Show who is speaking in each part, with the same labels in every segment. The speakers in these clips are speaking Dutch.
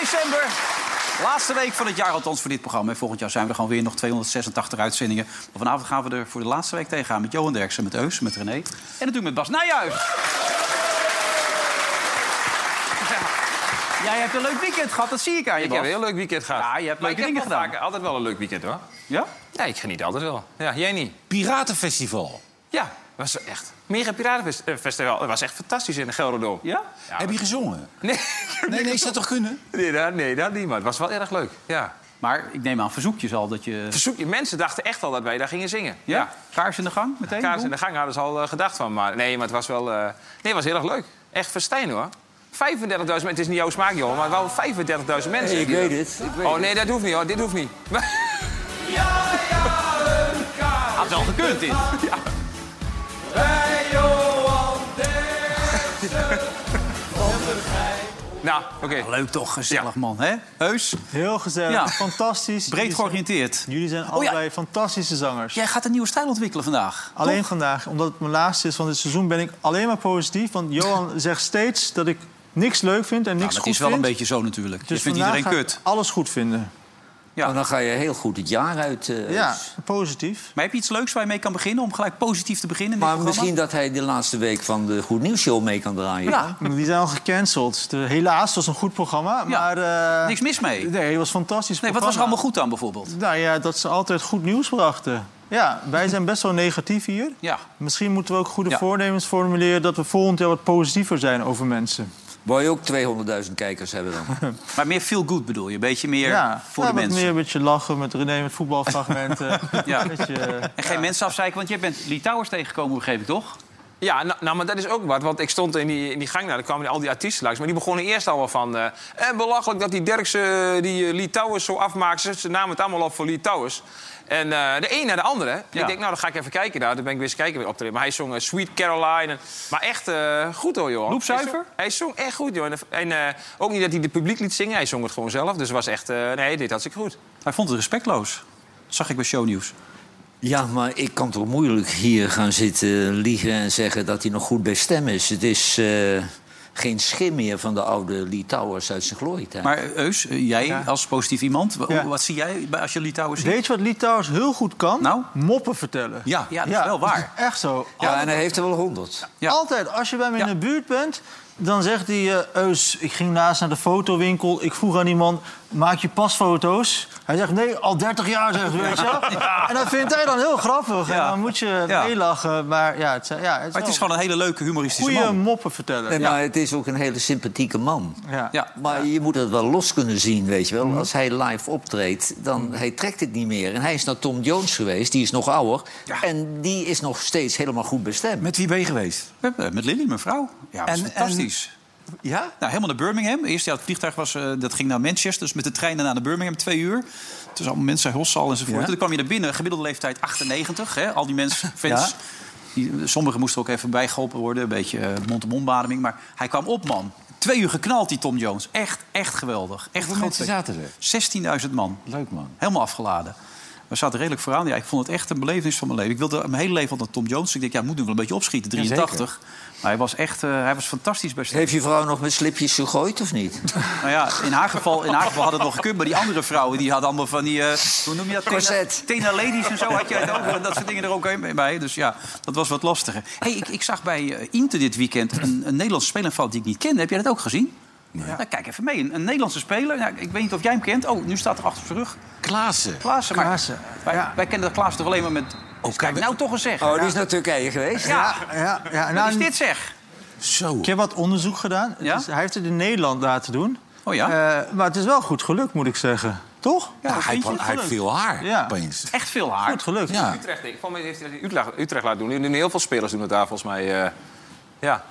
Speaker 1: december. Laatste week van het jaar althans voor dit programma. En volgend jaar zijn we er gewoon weer nog 286 uitzendingen. Maar vanavond gaan we er voor de laatste week tegenaan met Johan Derksen, met Eus, met René. En natuurlijk met Bas Nijhuis. Ja, jij hebt een leuk weekend gehad, dat zie ik aan je,
Speaker 2: Ik
Speaker 1: Bas.
Speaker 2: heb een heel leuk weekend gehad.
Speaker 1: Ja, je hebt
Speaker 2: Maar
Speaker 1: leuke
Speaker 2: ik heb
Speaker 1: dingen
Speaker 2: wel
Speaker 1: gedaan.
Speaker 2: vaak altijd wel een leuk weekend, hoor.
Speaker 1: Ja?
Speaker 2: Ja, ik geniet altijd wel. Ja, jij niet?
Speaker 3: Piratenfestival.
Speaker 2: Ja, was er echt. Mega Piratenfestival. Dat was echt fantastisch in Gelderdoom.
Speaker 1: Ja?
Speaker 3: Heb je gezongen?
Speaker 2: Nee,
Speaker 3: Nee, nee, zou toch kunnen?
Speaker 2: nee, dat, nee, dat niet, maar het was wel erg leuk. Ja.
Speaker 1: Maar ik neem aan verzoekjes al dat je...
Speaker 2: Verzoek, je mensen dachten echt al dat wij daar gingen zingen.
Speaker 1: Ja? Kaars in de gang meteen?
Speaker 2: Kaars in de gang hadden ze al eh, gedacht van. Maar nee, maar het was wel... eh, nee, het was heel erg leuk. Echt festijn, hoor. 35.000 mensen. Het is niet jouw smaak, joh, maar wel 35.000 mensen. ik weet het. oh, nee, dat hoeft niet, hoor. Dit hoeft niet.
Speaker 1: Had wel gekund dit.
Speaker 2: nou, oké.
Speaker 1: Leuk toch, gezellig man, hè? Heus,
Speaker 4: Heel gezellig,
Speaker 1: Ja.
Speaker 4: fantastisch.
Speaker 1: breed
Speaker 4: Jullie zijn-
Speaker 1: georiënteerd.
Speaker 4: Jullie zijn
Speaker 1: ja.
Speaker 4: allebei fantastische zangers.
Speaker 1: Jij gaat een nieuwe stijl ontwikkelen vandaag. Nou,
Speaker 4: Alleen vandaag, omdat het mijn laatste is van dit seizoen, ben ik alleen maar positief. Want Johan zegt steeds dat ik niks leuk vind en niks
Speaker 1: Nou, dat
Speaker 4: goed
Speaker 1: is wel een
Speaker 4: vind.
Speaker 1: beetje zo natuurlijk.
Speaker 4: Dus
Speaker 1: je vindt
Speaker 4: vandaag
Speaker 1: iedereen
Speaker 4: ga ik
Speaker 1: kut.
Speaker 4: alles goed vinden.
Speaker 1: Ja.
Speaker 5: Nou, dan ga je heel goed het jaar uit.
Speaker 1: Dus-
Speaker 5: eh,
Speaker 4: Ja,
Speaker 5: s-
Speaker 4: positief.
Speaker 1: Maar heb je iets leuks waar je mee kan beginnen? Om gelijk positief te beginnen in dit
Speaker 5: Maar misschien
Speaker 1: programma?
Speaker 5: dat hij de laatste week van de Goed Nieuws Show mee kan draaien.
Speaker 1: Ja.
Speaker 4: Die zijn al gecanceld. De- Helaas, het was een goed programma,
Speaker 1: Ja,
Speaker 4: maar... eh,
Speaker 1: Niks mis mee.
Speaker 4: Nee, het was een fantastisch
Speaker 1: Nee, wat was er
Speaker 4: programma.
Speaker 1: allemaal goed aan bijvoorbeeld?
Speaker 4: Nou ja, dat ze altijd goed nieuws brachten. Ja, wij zijn best wel negatief hier.
Speaker 1: Ja.
Speaker 4: Misschien moeten we ook goede
Speaker 1: Ja.
Speaker 4: voornemens formuleren... dat we volgend jaar wat positiever zijn over mensen.
Speaker 5: Wou je ook 200.000 kijkers hebben dan?
Speaker 1: Maar meer feel good bedoel je? Een beetje meer
Speaker 4: Ja,
Speaker 1: voor
Speaker 4: ja,
Speaker 1: de
Speaker 4: wat
Speaker 1: mensen.
Speaker 4: meer een beetje lachen met René met voetbalfragmenten.
Speaker 1: Ja.
Speaker 4: Een beetje, eh,
Speaker 1: En geen mensen afzeiken, want jij bent Litouwers tegengekomen, begreep ik toch?
Speaker 2: Ja, nou, nou, maar dat is ook wat. Want ik stond in die, in die gang, nou, daar kwamen al die artiesten langs. Maar die begonnen eerst al wel van... eh, eh, belachelijk dat die Derksen eh, die eh, Litouwers zo afmaakt. Ze, ze namen het allemaal op voor Litouwers. En eh, de een naar de andere. En
Speaker 1: Ja.
Speaker 2: Ik denk, nou, dan ga ik even kijken daar. Dan ben ik weer eens kijken weer op te Maar hij zong eh, Sweet Caroline. En- maar echt eh, goed hoor, joh.
Speaker 1: Loepzuiver?
Speaker 2: Hij zong, hij zong echt goed, joh. En, en eh, ook niet dat hij het publiek liet zingen. Hij zong het gewoon zelf. Dus het was echt... eh, nee, dit had ik goed.
Speaker 1: Hij vond het respectloos. Dat zag ik bij shownieuws.
Speaker 5: ja, maar ik kan toch moeilijk hier gaan zitten liegen en zeggen dat hij nog goed bij stem is. Het is eh, geen schim meer van de oude Litouwers uit zijn glorietijd.
Speaker 1: Maar eh, Eus, eh, jij als positief iemand, wa-
Speaker 4: Ja.
Speaker 1: hoe- wat zie jij bij- als je Litouwers ziet?
Speaker 4: Weet je wat Litouwers heel goed kan?
Speaker 1: Nou?
Speaker 4: Moppen vertellen.
Speaker 1: Ja, ja, dat is wel waar.
Speaker 4: Echt zo.
Speaker 5: ja, Ah, en hij heeft er wel 100.
Speaker 1: Ja.
Speaker 4: Altijd, als je bij me in
Speaker 1: Ja.
Speaker 4: de buurt bent, dan zegt hij... eh, Eus, ik ging naast naar de fotowinkel. Ik vroeg aan iemand, maak je pasfoto's? Hij zegt, nee, al 30 jaar, zegt hij, weet je wel. En dat vindt hij dan heel grappig.
Speaker 1: Ja.
Speaker 4: En dan moet je
Speaker 1: Ja.
Speaker 4: meelachen. Maar ja, het, zijn- ja, het,
Speaker 1: Maar het is
Speaker 4: wel
Speaker 1: gewoon een hele leuke humoristische
Speaker 4: goede
Speaker 1: man.
Speaker 4: moppen vertellen.
Speaker 5: Nee, Maar het is ook een hele sympathieke man.
Speaker 4: Ja.
Speaker 1: Ja.
Speaker 5: Maar je moet het wel los kunnen zien, weet je wel. Als hij live optreedt, dan hij trekt het niet meer. En hij is naar Tom Jones geweest, die is nog ouder. En die is nog steeds helemaal goed bestemd.
Speaker 3: Met wie ben je geweest?
Speaker 1: We hebben- eh, Met Lily, mijn vrouw. Ja, dat is
Speaker 3: En- en-
Speaker 1: fantastisch.
Speaker 3: Ja?
Speaker 1: Nou, helemaal naar Birmingham. Eerst ja, het vliegtuig was, eh, dat ging naar Manchester. Dus met de trein daarna naar Birmingham, twee uur. Toen allemaal mensen, Hossal enzovoort.
Speaker 3: Ja.
Speaker 1: En toen kwam je naar binnen, gemiddelde leeftijd 98. Hè? Al die mensen, fans.
Speaker 3: Ja.
Speaker 1: Die, sommigen moesten ook even bijgeholpen worden. Een beetje eh, mond-to-mond bademing. Maar hij kwam op, man. Twee uur geknald, die Tom Jones. Echt, echt geweldig. Echt een
Speaker 3: Hoeveel
Speaker 1: groot
Speaker 3: mensen
Speaker 1: feest.
Speaker 3: zaten er?
Speaker 1: 16.000 man.
Speaker 3: Leuk, man.
Speaker 1: Helemaal afgeladen. We zaten redelijk vooraan. Ja, ik vond het echt een belevenis van mijn leven. Ik wilde mijn hele leven al naar Tom Jones. Ik dacht, ja, moet nu wel een beetje opschieten, 83. maar hij was echt eh, hij was fantastisch bij
Speaker 5: Heeft je vrouw nog met slipjes gegooid of niet?
Speaker 1: nou ja, in haar geval, in haar geval had het nog gekund. Maar die andere vrouwen, die hadden allemaal van die... eh, hoe noem je dat?
Speaker 5: Corset.
Speaker 1: Tena ladies en zo had jij het over. En dat soort dingen er ook heen- bij. Dus ja, dat was wat lastiger. hey, ik, ik zag bij eh, Inter dit weekend een, een Nederlandse speler van die ik niet kende. Heb jij dat ook gezien? Nou, kijk even mee. Een, een Nederlandse speler. Nou, ik weet niet of jij hem kent. Oh, nu staat er achter zijn rug.
Speaker 3: Klaassen.
Speaker 1: Klaassen. Maar
Speaker 4: Klaassen,
Speaker 1: Wij,
Speaker 4: ja.
Speaker 1: wij kennen dat Klaassen toch alleen maar met...
Speaker 3: Oh,
Speaker 1: Kijk, nou toch eens zeg.
Speaker 5: Oh, die is naar Turkije geweest.
Speaker 1: ja,
Speaker 4: Ja, ja,
Speaker 1: wat
Speaker 4: nou,
Speaker 1: is dit zeg?
Speaker 3: Zo.
Speaker 4: Ik heb wat onderzoek gedaan. Het
Speaker 1: Ja?
Speaker 4: is- hij heeft het in Nederland laten doen.
Speaker 1: Oh ja?
Speaker 4: Eh, maar het is wel goed gelukt, moet ik zeggen. Toch?
Speaker 3: Ja, hij,
Speaker 4: vind je
Speaker 3: heeft-
Speaker 4: het
Speaker 3: hij heeft
Speaker 4: gelukt?
Speaker 3: veel haar,
Speaker 4: Ja.
Speaker 3: opeens.
Speaker 1: Echt veel haar.
Speaker 4: Goed gelukt.
Speaker 3: Ja.
Speaker 2: Utrecht, denk ik. Volgens mij heeft hij dat in Utrecht, Utrecht laten doen. Nu doen heel veel spelers doen het daar, volgens mij. eh, ja.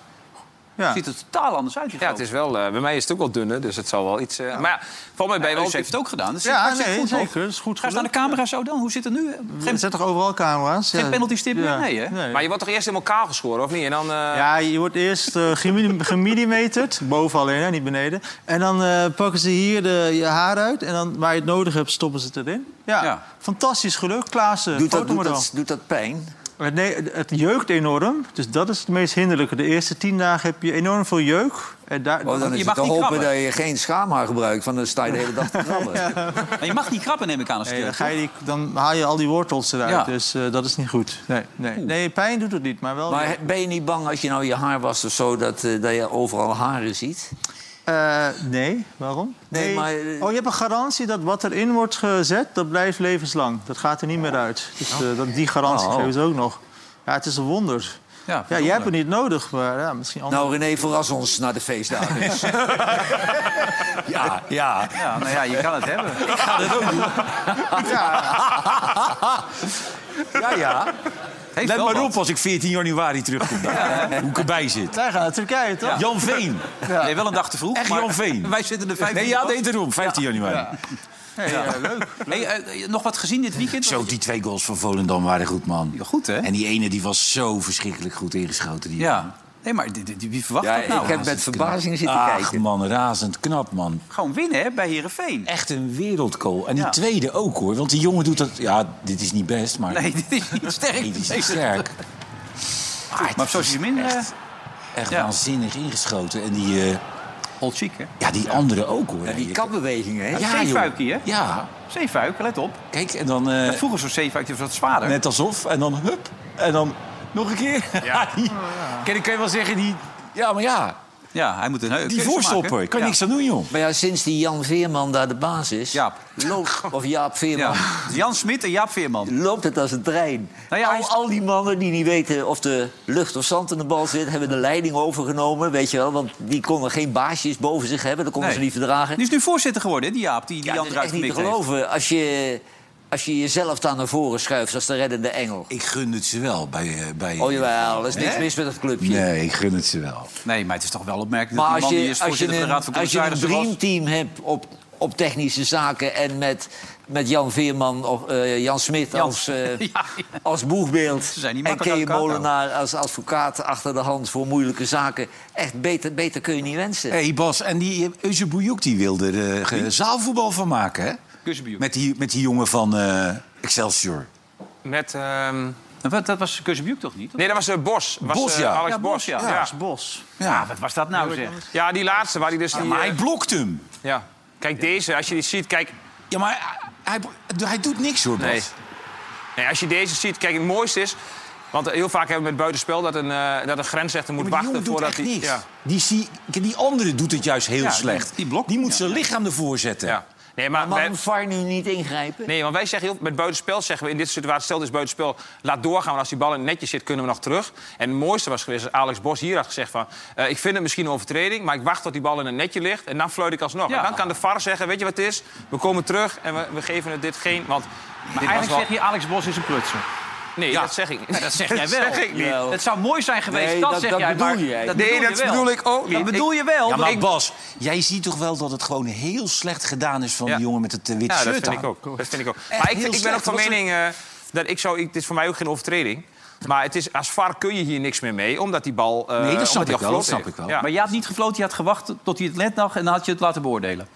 Speaker 4: Ja.
Speaker 1: Ziet er totaal anders uit. die
Speaker 2: Ja,
Speaker 1: gozer.
Speaker 2: het is wel, eh, bij mij is het ook wel dunner, dus het zal wel iets... eh, Maar ja, volgens mij ben je
Speaker 1: Bij
Speaker 2: wel...
Speaker 1: ons heeft het ook gedaan. Dat zit
Speaker 4: Ja,
Speaker 1: hartstikke
Speaker 4: nee,
Speaker 1: goed, hoor.
Speaker 4: zeker. Dat is goed
Speaker 1: Ga eens naar de
Speaker 4: gelukt.
Speaker 1: camera zo dan. Hoe zit het nu? Op een
Speaker 4: Er
Speaker 1: gegeven
Speaker 4: zijn toch overal camera's?
Speaker 1: Geen
Speaker 4: Ja.
Speaker 1: penaltystip meer?
Speaker 4: Ja.
Speaker 1: Nee, hè?
Speaker 2: Maar je wordt toch eerst helemaal kaal geschoren, of niet? En dan... eh,
Speaker 4: Ja, je wordt eerst eh, gemilim- gemillimeterd, boven alleen, hè, niet beneden. En dan eh, pakken ze hier de, je haar uit en dan waar je het nodig hebt stoppen ze het erin. Ja,
Speaker 1: Ja.
Speaker 4: fantastisch geluk. eh, Klaassen,
Speaker 5: Doet dat, doet,
Speaker 4: fotomodel.
Speaker 5: dat, doet dat pijn?
Speaker 4: Het, nee, het jeukt enorm, dus dat is het meest hinderlijke. De eerste tien dagen heb je enorm veel jeuk. En daar,
Speaker 5: Oh, dan
Speaker 1: Je
Speaker 5: is
Speaker 1: mag
Speaker 5: het te
Speaker 1: niet
Speaker 5: hopen
Speaker 1: krabben.
Speaker 5: dat je geen schaamhaar gebruikt. Want dan sta je de hele dag te krabben.
Speaker 1: moment- Maar je mag niet krabben, neem ik aan. Als het
Speaker 4: Nee, dan,
Speaker 1: keert,
Speaker 4: ga je die- dan haal je al die wortels eruit,
Speaker 1: Ja.
Speaker 4: dus eh, dat is niet goed. Nee, nee. nee, pijn doet het niet, maar wel...
Speaker 5: Maar he- ben je niet bang als je nou je haar wast of zo... dat, eh, dat je overal haren ziet?
Speaker 4: Eh, nee, waarom?
Speaker 5: Nee, maar, eh,
Speaker 4: Oh, je hebt een garantie dat wat erin wordt gezet, dat blijft levenslang. Dat gaat er niet meer uit. Dus eh, dat, die garantie
Speaker 5: Oh.
Speaker 4: geven ze ook nog. Ja, het is een wonder.
Speaker 1: Ja,
Speaker 4: Ja, jij hebt het niet nodig, maar ja, misschien anders.
Speaker 5: Nou, René, verras ons naar de feestdagen. eens. ja, ja.
Speaker 1: toch? Ja, nou ja, je kan het hebben. Ik ga dat ook doen.
Speaker 5: Ja, ja.
Speaker 1: Heeft
Speaker 6: Let
Speaker 1: wel
Speaker 6: maar
Speaker 1: wat.
Speaker 6: op als ik 14 januari terugkom. Hoe ik erbij zit.
Speaker 4: Wij gaan naar Turkije, toch?
Speaker 6: Jan Veen.
Speaker 1: Nee, wel een dag te vroeg.
Speaker 6: Echt
Speaker 1: maar
Speaker 6: Jan Veen.
Speaker 1: Wij zitten er vijf
Speaker 6: Nee, ja,
Speaker 1: minuten
Speaker 6: nee, daarom. 15 januari.
Speaker 1: af. Hey, eh, eh, Nog wat gezien dit weekend?
Speaker 6: Zo, die twee goals van Volendam waren goed, man.
Speaker 1: Ja, Goed, hè?
Speaker 6: En die ene die was zo verschrikkelijk goed ingeschoten. Die
Speaker 1: Ja. Nee, maar dit- dit- wie verwacht
Speaker 5: Ja,
Speaker 1: dat nou?
Speaker 5: ik heb met verbazing zitten
Speaker 6: Ach
Speaker 5: kijken.
Speaker 6: man, razend knap, man.
Speaker 1: Gewoon winnen, hè, bij Heerenveen.
Speaker 6: Echt een wereldkool. En die
Speaker 1: Ja.
Speaker 6: tweede ook, hoor. Want die jongen doet dat... Ja, dit is niet best, maar...
Speaker 1: Nee, dit is niet sterk.
Speaker 6: die is
Speaker 1: Nee,
Speaker 6: echt sterk.
Speaker 1: Maar op social media... eh,
Speaker 6: Echt, echt
Speaker 1: Ja.
Speaker 6: waanzinnig ingeschoten. En die, eh,
Speaker 1: Old chic, hè?
Speaker 6: ja, die andere ook, hoor.
Speaker 5: Die kapbewegingen, hè?
Speaker 6: ja,
Speaker 1: Zeefuikie,
Speaker 6: joh.
Speaker 1: hè?
Speaker 6: Ja,
Speaker 1: Zeefuik, let op.
Speaker 6: kijk, en dan... eh,
Speaker 1: Vroeger zo'n zeefuik, die was wat zwaarder.
Speaker 6: Net alsof. En dan hup. En dan nog een keer. Ja. die,
Speaker 1: Oh,
Speaker 6: Kan, ik- kan je wel zeggen, die... Ja, maar ja.
Speaker 1: Ja, hij moet een heu-
Speaker 6: Die
Speaker 1: keuze
Speaker 6: voorstopper.
Speaker 1: maken.
Speaker 6: Kan
Speaker 1: ja.
Speaker 6: niks aan doen, joh.
Speaker 5: Maar ja, sinds die Jan Veerman daar de baas is...
Speaker 1: Jaap.
Speaker 5: Loopt, of Jaap
Speaker 1: Ja.
Speaker 5: Veerman...
Speaker 1: Jan Smit en Jaap Veerman.
Speaker 5: loopt het als een trein.
Speaker 1: Nou ja,
Speaker 5: al,
Speaker 1: hij is-
Speaker 5: al die mannen die niet weten of de lucht of zand in de bal zit... hebben de leiding overgenomen, weet je wel. Want die konden geen baasjes boven zich hebben. Dat konden
Speaker 1: Nee.
Speaker 5: ze niet verdragen.
Speaker 1: Die is nu voorzitter geworden, hè, die Jaap, die, die
Speaker 5: ja,
Speaker 1: Jan
Speaker 5: dat is
Speaker 1: eruit
Speaker 5: echt niet te
Speaker 1: gemikt heeft.
Speaker 5: geloven. Als je, als je jezelf daar naar voren schuift als de reddende engel.
Speaker 6: Ik gun het ze wel bij... eh, bij
Speaker 5: Oh jawel, er is niks mis met dat clubje.
Speaker 6: Nee, ik gun het ze wel.
Speaker 1: Nee, maar het is toch wel opmerkelijk
Speaker 5: Maar
Speaker 1: dat die
Speaker 5: als
Speaker 1: man die
Speaker 5: je,
Speaker 1: is
Speaker 5: als je
Speaker 1: voorzitter van de Raad van
Speaker 5: een, als je een
Speaker 1: Commissarissen was...
Speaker 5: dreamteam hebt op, op technische zaken... en met, met Jan Veerman of eh, Jan Smit
Speaker 1: Jan.
Speaker 5: als, eh,
Speaker 1: Ja, ja.
Speaker 5: als boegbeeld...
Speaker 1: zijn niet
Speaker 5: en
Speaker 1: makkelijk
Speaker 5: Kee
Speaker 1: aan elkaar
Speaker 5: Molenaar als advocaat achter de hand voor moeilijke zaken... echt beter, beter kun je niet wensen.
Speaker 6: Hé hey Bas, en die eh, Euze Bouyouk die wil er eh, ge- zaalvoetbal van maken, hè?
Speaker 1: Kuzenbuur.
Speaker 6: Met die, met die jongen van eh, Excelsior.
Speaker 2: Met... ehm,
Speaker 1: Wat, Dat was Kuzenbuuk toch niet?
Speaker 2: Nee, dat was eh, Bos. Was,
Speaker 6: Bos,
Speaker 2: eh,
Speaker 6: ja.
Speaker 2: Alex
Speaker 1: Ja,
Speaker 2: Bos.
Speaker 1: Bos, ja.
Speaker 2: ja. Ja.
Speaker 4: Dat is bos.
Speaker 1: Ja, wat was dat nou zeg?
Speaker 2: die laatste waar hij dus... die,
Speaker 6: Maar hij
Speaker 2: eh,
Speaker 6: blokt hem.
Speaker 2: ja. Kijk, deze, als je die ziet, kijk...
Speaker 6: Ja, maar hij, hij, hij doet niks hoor, Bas.
Speaker 2: Nee. Nee, als je deze ziet, kijk, het mooiste is... Want heel vaak hebben we met buitenspel dat een, eh, dat een grensrechter moet
Speaker 6: Maar die
Speaker 2: wachten
Speaker 6: jongen doet
Speaker 2: voordat
Speaker 6: echt
Speaker 2: hij...
Speaker 6: niks.
Speaker 2: Ja.
Speaker 6: Die, zie, kijk, die andere doet het juist heel
Speaker 1: Ja, die-
Speaker 6: slecht.
Speaker 1: die blokt
Speaker 6: moet
Speaker 1: niet,
Speaker 6: zijn lichaam ervoor zetten.
Speaker 2: ja. Nee, maar... wij-
Speaker 5: Waarom VAR nu niet ingrijpen?
Speaker 2: Nee, want wij zeggen heel, met buitenspel zeggen we in dit soort situaties... stel dus buitenspel, laat doorgaan, want als die bal in het netje zit... kunnen we nog terug. En het mooiste was geweest als Alex Bos hier had gezegd van... eh, ik vind het misschien een overtreding, maar ik wacht tot die bal in het netje ligt... en dan fluit ik alsnog.
Speaker 1: Ja.
Speaker 2: En dan kan de VAR zeggen, weet je wat het is? We komen terug en we, we geven het dit geen... Want dit was
Speaker 1: Eigenlijk
Speaker 2: wel-
Speaker 1: zeg je Alex Bos is een prutser.
Speaker 2: Nee, dat zeg ik niet.
Speaker 1: dat zeg jij wel.
Speaker 2: Dat zeg ik niet.
Speaker 5: Jawel.
Speaker 1: Het zou mooi zijn geweest,
Speaker 5: Nee,
Speaker 1: dat,
Speaker 5: dat-
Speaker 1: zeg
Speaker 5: dat
Speaker 1: jij.
Speaker 5: bedoel
Speaker 1: maar
Speaker 5: jij.
Speaker 1: Dat
Speaker 2: Nee,
Speaker 1: bedoel
Speaker 2: dat
Speaker 1: je wel.
Speaker 2: bedoel ik ook niet.
Speaker 1: Dat bedoel je wel.
Speaker 6: Ja, maar
Speaker 1: Ik-
Speaker 6: Bas, jij ziet toch wel dat het gewoon heel slecht gedaan is van
Speaker 2: Ja.
Speaker 6: die jongen met het eh, witte
Speaker 2: Ja, dat
Speaker 6: shirt
Speaker 2: vind
Speaker 6: aan.
Speaker 2: ik ook. Dat vind ik ook.
Speaker 6: Echt
Speaker 2: maar ik,
Speaker 6: heel
Speaker 2: ik ben
Speaker 6: slecht.
Speaker 2: ook van
Speaker 6: Dat was
Speaker 2: mening eh, dat ik zou... Ik, het is voor mij ook geen overtreding. Maar het is, als VAR kun je hier niks meer mee, omdat die bal... eh,
Speaker 6: Nee, dat snap
Speaker 2: omdat die al
Speaker 6: ik wel, dat
Speaker 2: gefloten
Speaker 6: snap
Speaker 2: is.
Speaker 6: ik wel.
Speaker 2: Ja.
Speaker 1: Maar je had niet gefloten, je had gewacht tot hij het net nog en dan had je het laten beoordelen.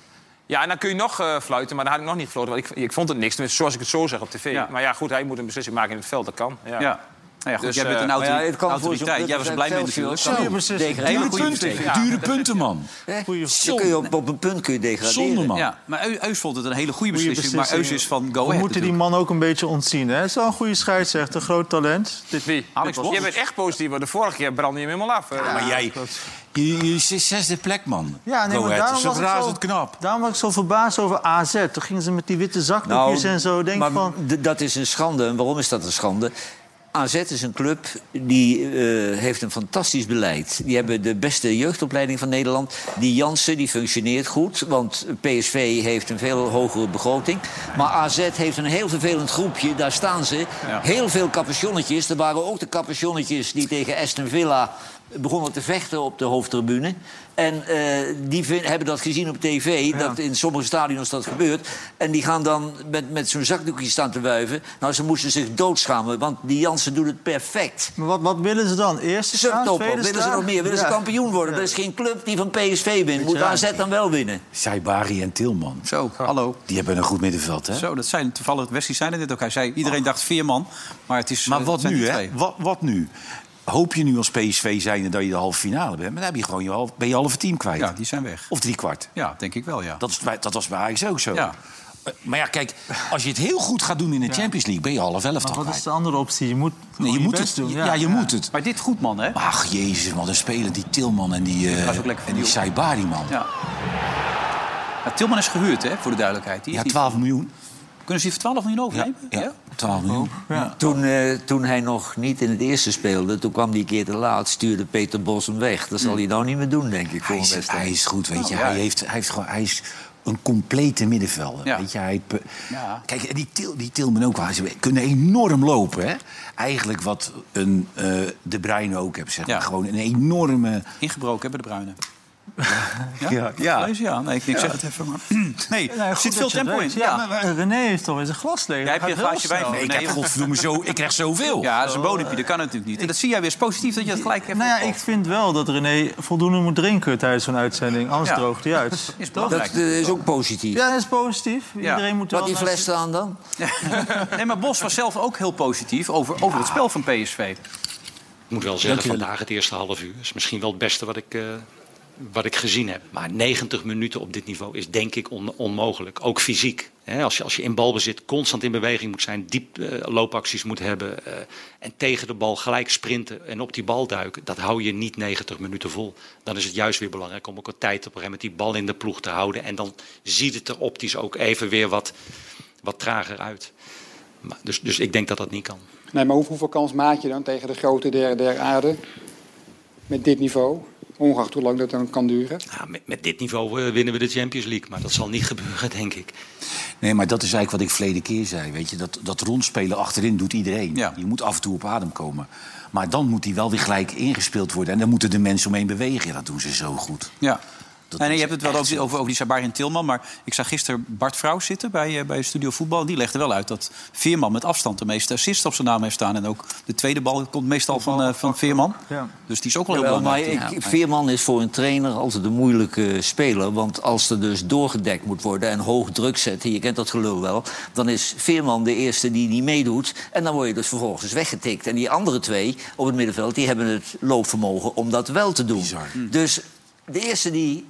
Speaker 2: Ja, en dan kun je nog eh, fluiten, maar dan had ik nog niet gefloten. Want ik, ik vond het niks, tenminste, zoals ik het zo zeg op tv.
Speaker 1: Ja.
Speaker 2: Maar ja, goed, hij moet een beslissing maken in het veld, dat kan. Ja.
Speaker 1: Ja. Nou ja, goed,
Speaker 2: Dus,
Speaker 1: jij bent een
Speaker 2: eh,
Speaker 5: Maar
Speaker 1: autori-
Speaker 5: ja, het kan voor zo'n
Speaker 1: autoriteit.
Speaker 5: club
Speaker 1: Jij was
Speaker 5: als
Speaker 1: blij met
Speaker 5: Excelsior
Speaker 1: natuurlijk.
Speaker 5: kan
Speaker 4: Zo, precies.
Speaker 5: degraderen.
Speaker 6: Dure
Speaker 1: Hele goede
Speaker 6: punten,
Speaker 1: beslissing.
Speaker 6: dure punten, man.
Speaker 5: Hè?
Speaker 4: Goeie-
Speaker 5: Dan kun je op, op een punt kun je degraderen.
Speaker 6: Zonde, man.
Speaker 1: Ja, maar Eu- Eus vond het een hele goede
Speaker 4: Goeie
Speaker 1: beslissing, maar Eus
Speaker 4: beslissing.
Speaker 1: is van Go
Speaker 4: We
Speaker 1: Ahead
Speaker 4: moeten die
Speaker 1: natuurlijk.
Speaker 4: man ook een beetje ontzien. Hè? Het is wel een goede scheidsrechter, groot talent. Dit-
Speaker 2: Wie?
Speaker 1: Alex Bos.
Speaker 2: Je bent echt positief, want de vorige keer brandde je hem helemaal af. Ja.
Speaker 6: Maar jij, je, je zit zesde plek, man.
Speaker 4: Ja, nee,
Speaker 6: Go
Speaker 4: maar
Speaker 6: Ahead,
Speaker 4: daarom
Speaker 6: dat
Speaker 4: was,
Speaker 6: is
Speaker 4: ik zo,
Speaker 6: razend knap.
Speaker 4: daarom was ik zo verbaasd over AZ. Toen gingen ze met die witte zakdoekjes en zo. Denk
Speaker 5: Nou, maar
Speaker 4: van,
Speaker 5: d- dat is een schande. En waarom is dat een schande? AZ is een club die eh, heeft een fantastisch beleid. Die hebben de beste jeugdopleiding van Nederland. Die Jansen die functioneert goed, want PSV heeft een veel hogere begroting. Maar AZ heeft een heel vervelend groepje, daar staan ze. Heel veel capuchonnetjes. Er waren ook de capuchonnetjes die tegen Aston Villa begonnen te vechten op de hoofdtribune. En eh, die vin- hebben dat gezien op tv, dat in sommige stadions dat gebeurt. En die gaan dan met, met zo'n zakdoekje staan te wuiven. Nou, ze moesten zich doodschamen, want die Jansen doet het perfect.
Speaker 4: Maar wat, wat willen ze dan? Eerst
Speaker 5: Ze
Speaker 4: staan,
Speaker 5: toppen.
Speaker 4: tweede
Speaker 5: Willen ze
Speaker 4: staan?
Speaker 5: nog meer? Willen ze
Speaker 4: Ja.
Speaker 5: kampioen worden? Er is geen club die van PSV wint. Moet
Speaker 4: Ja.
Speaker 5: AZ dan wel winnen?
Speaker 6: Saibari en Tilman.
Speaker 1: Zo, hallo.
Speaker 6: Die hebben een goed middenveld, hè?
Speaker 1: Zo, dat zijn toevallig Westie zijn er dit ook. Hij zei, iedereen dacht Veerman, maar het is...
Speaker 6: Maar
Speaker 1: eh,
Speaker 6: wat
Speaker 1: het zijn die
Speaker 6: nu, hè?
Speaker 1: twee.
Speaker 6: Wat, wat nu? Hoop je nu als PSV zijnde dat je de halve finale bent? Maar dan heb je gewoon je half, ben je halve team kwijt.
Speaker 1: Ja, die zijn weg.
Speaker 6: Of driekwart.
Speaker 1: Ja, denk ik wel, ja.
Speaker 6: Dat, is bij- dat was bij Ajax ook zo.
Speaker 1: Ja.
Speaker 6: Eh, Maar ja, kijk, als je het heel goed gaat doen in de Champions League... ben je half elf
Speaker 4: Maar
Speaker 6: toch
Speaker 4: wat is
Speaker 6: kwijt.
Speaker 4: de andere optie? Je moet
Speaker 6: Nee, je moet het.
Speaker 4: best doen.
Speaker 6: Ja, je moet het.
Speaker 1: Maar dit goed, man, hè?
Speaker 6: Ach, jezus, wat een speler. Die Tilman en die, eh
Speaker 1: was ook lekker
Speaker 6: en die
Speaker 1: vernieuwd.
Speaker 6: Saibari, man.
Speaker 1: Ja. Ja, Tilman is gehuurd, hè, voor de duidelijkheid. Die is
Speaker 6: Ja,
Speaker 1: niet-
Speaker 6: 12 miljoen.
Speaker 1: Kunnen ze die voor 12 miljoen
Speaker 6: Ja,
Speaker 1: overnemen?
Speaker 6: ja, 12 miljoen.
Speaker 1: Oh.
Speaker 5: Toen, eh, toen hij nog niet in het eerste speelde, toen kwam die een keer te laat, stuurde Peter Bos hem weg. Dat zal hij nou niet meer doen, denk ik.
Speaker 6: Hij
Speaker 5: volgende
Speaker 6: is,
Speaker 5: wedstrijd.
Speaker 6: hij is goed, weet je.
Speaker 1: Nou, ja.
Speaker 6: Hij, heeft, hij, heeft gewoon, hij is een complete middenvelder.
Speaker 1: Ja.
Speaker 6: Weet je, hij, pe-
Speaker 1: Ja.
Speaker 6: Kijk, en die, til, die Tilman ook. wel. Ze kunnen enorm lopen. Hè? Eigenlijk wat een, eh, De Bruyne ook heeft. Zeg maar.
Speaker 1: Ja.
Speaker 6: Gewoon een enorme...
Speaker 1: Ingebroken hebben de Bruinen. Ja?
Speaker 6: Ja.
Speaker 1: Ja. Gelezen? ja. Nee, ik, ik zeg het even, maar... Nee,
Speaker 4: Ja,
Speaker 1: er
Speaker 4: goed
Speaker 1: zit veel
Speaker 4: dat je het
Speaker 1: tempo in.
Speaker 4: weet. Ja,
Speaker 1: Ja.
Speaker 4: maar eh, René heeft alweer zijn glas leeg.
Speaker 1: Jij hebt je een
Speaker 4: Hij gaat
Speaker 1: glaasje
Speaker 4: heel
Speaker 1: wijn
Speaker 4: snel.
Speaker 6: Nee, ik, heb,
Speaker 1: Oh, nee.
Speaker 6: godverdomme, zo, ik krijg zoveel.
Speaker 1: ja, dat is een bodempje. Dat kan natuurlijk niet. En dat zie jij weer. Is positief dat je dat gelijk hebt.
Speaker 4: Nou ja, ik
Speaker 1: opgevallen.
Speaker 4: vind wel dat René voldoende moet drinken tijdens zo'n uitzending. Anders
Speaker 1: Ja.
Speaker 4: droogt hij uit.
Speaker 1: Is
Speaker 5: Dat
Speaker 1: belangrijk.
Speaker 5: eh, is ook positief.
Speaker 4: Ja, dat is positief. Iedereen moet
Speaker 5: Laat
Speaker 4: wel
Speaker 5: die
Speaker 4: naar-
Speaker 5: fles staan dan.
Speaker 1: Nee, maar Bos was zelf ook heel positief over, over het spel van PSV.
Speaker 7: Ik moet wel zeggen, vandaag het eerste half uur is misschien wel het beste wat ik, eh, wat ik gezien heb. Maar 90 minuten op dit niveau is denk ik on- onmogelijk. Ook fysiek. Hè, als, je, als je in balbezit constant in beweging moet zijn, diep eh, loopacties moet hebben. eh, en tegen de bal gelijk sprinten en op die bal duiken. Dat hou je niet 90 minuten vol. Dan is het juist weer belangrijk om ook wat tijd op een gegeven moment die bal in de ploeg te houden. En dan ziet het er optisch ook even weer wat, wat trager uit. Maar, dus, dus ik denk dat dat niet kan.
Speaker 8: Nee, maar hoe- hoeveel kans maak je dan tegen de grote der, der aarde met dit niveau? Ongeacht hoe lang dat dan kan duren.
Speaker 7: Ja, Nou, met, met dit niveau eh, winnen we de Champions League, maar dat zal niet gebeuren, denk ik.
Speaker 6: Nee, maar dat is eigenlijk wat ik verleden keer zei. Weet je? Dat, dat rondspelen achterin doet iedereen.
Speaker 1: Ja.
Speaker 6: Je moet af en toe op adem komen. Maar dan moet die wel weer gelijk ingespeeld worden. En dan moeten de mensen omheen bewegen. Ja, dat doen ze zo goed.
Speaker 1: Ja.
Speaker 6: Dat
Speaker 1: en
Speaker 6: is
Speaker 1: je hebt het wel
Speaker 6: echt
Speaker 1: over, over, over die Sabari en Tilman. Maar ik zag gisteren Bart Vrouw zitten bij, eh, bij Studio Voetbal. En die legde wel uit dat Veerman met afstand de meeste assists op zijn naam heeft staan. En ook de tweede bal komt meestal van, eh, van Veerman.
Speaker 4: Ja.
Speaker 1: Dus die is ook wel heel
Speaker 5: Jawel, maar
Speaker 1: belangrijk.
Speaker 5: ik- Veerman is voor een trainer altijd een moeilijke speler. Want als er dus doorgedekt moet worden en hoog druk zetten... je kent dat gelul wel, dan is Veerman de eerste die niet meedoet. En dan word je dus vervolgens weggetikt. En die andere twee op het middenveld... die hebben het loopvermogen om dat wel te doen. Dus de eerste die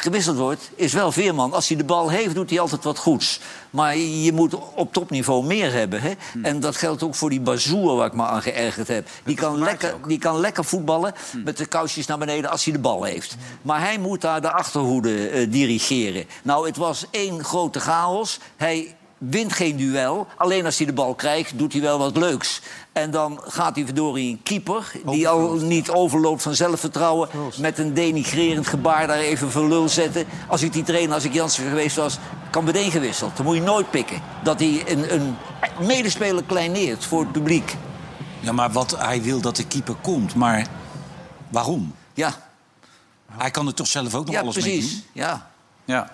Speaker 5: gewisseld wordt, is wel Veerman. Als hij de bal heeft, doet hij altijd wat goeds. Maar je moet op topniveau meer hebben. Hè? En dat geldt ook voor die Bazoer waar ik me aan geërgerd heb. Die kan, lekker, die kan lekker voetballen met de kousjes naar beneden als hij de bal heeft. Maar hij moet daar de achterhoede eh, dirigeren. Nou, het was één grote chaos. Hij wint geen duel. Alleen als hij de bal krijgt, doet hij wel wat leuks. En dan gaat hij verdorie een keeper... die al niet overloopt van zelfvertrouwen... met een denigrerend gebaar daar even voor lul zetten. Als ik die trainer, als ik Jansen geweest was... kan meteen gewisseld. Dan moet je nooit pikken. Dat hij een, een medespeler kleineert voor het publiek.
Speaker 6: Ja, maar wat hij wil dat de keeper komt. Maar waarom?
Speaker 5: Ja,
Speaker 6: Hij kan er toch zelf ook nog
Speaker 5: ja
Speaker 6: alles mee
Speaker 5: precies.
Speaker 6: doen?
Speaker 5: Ja.
Speaker 1: Ja.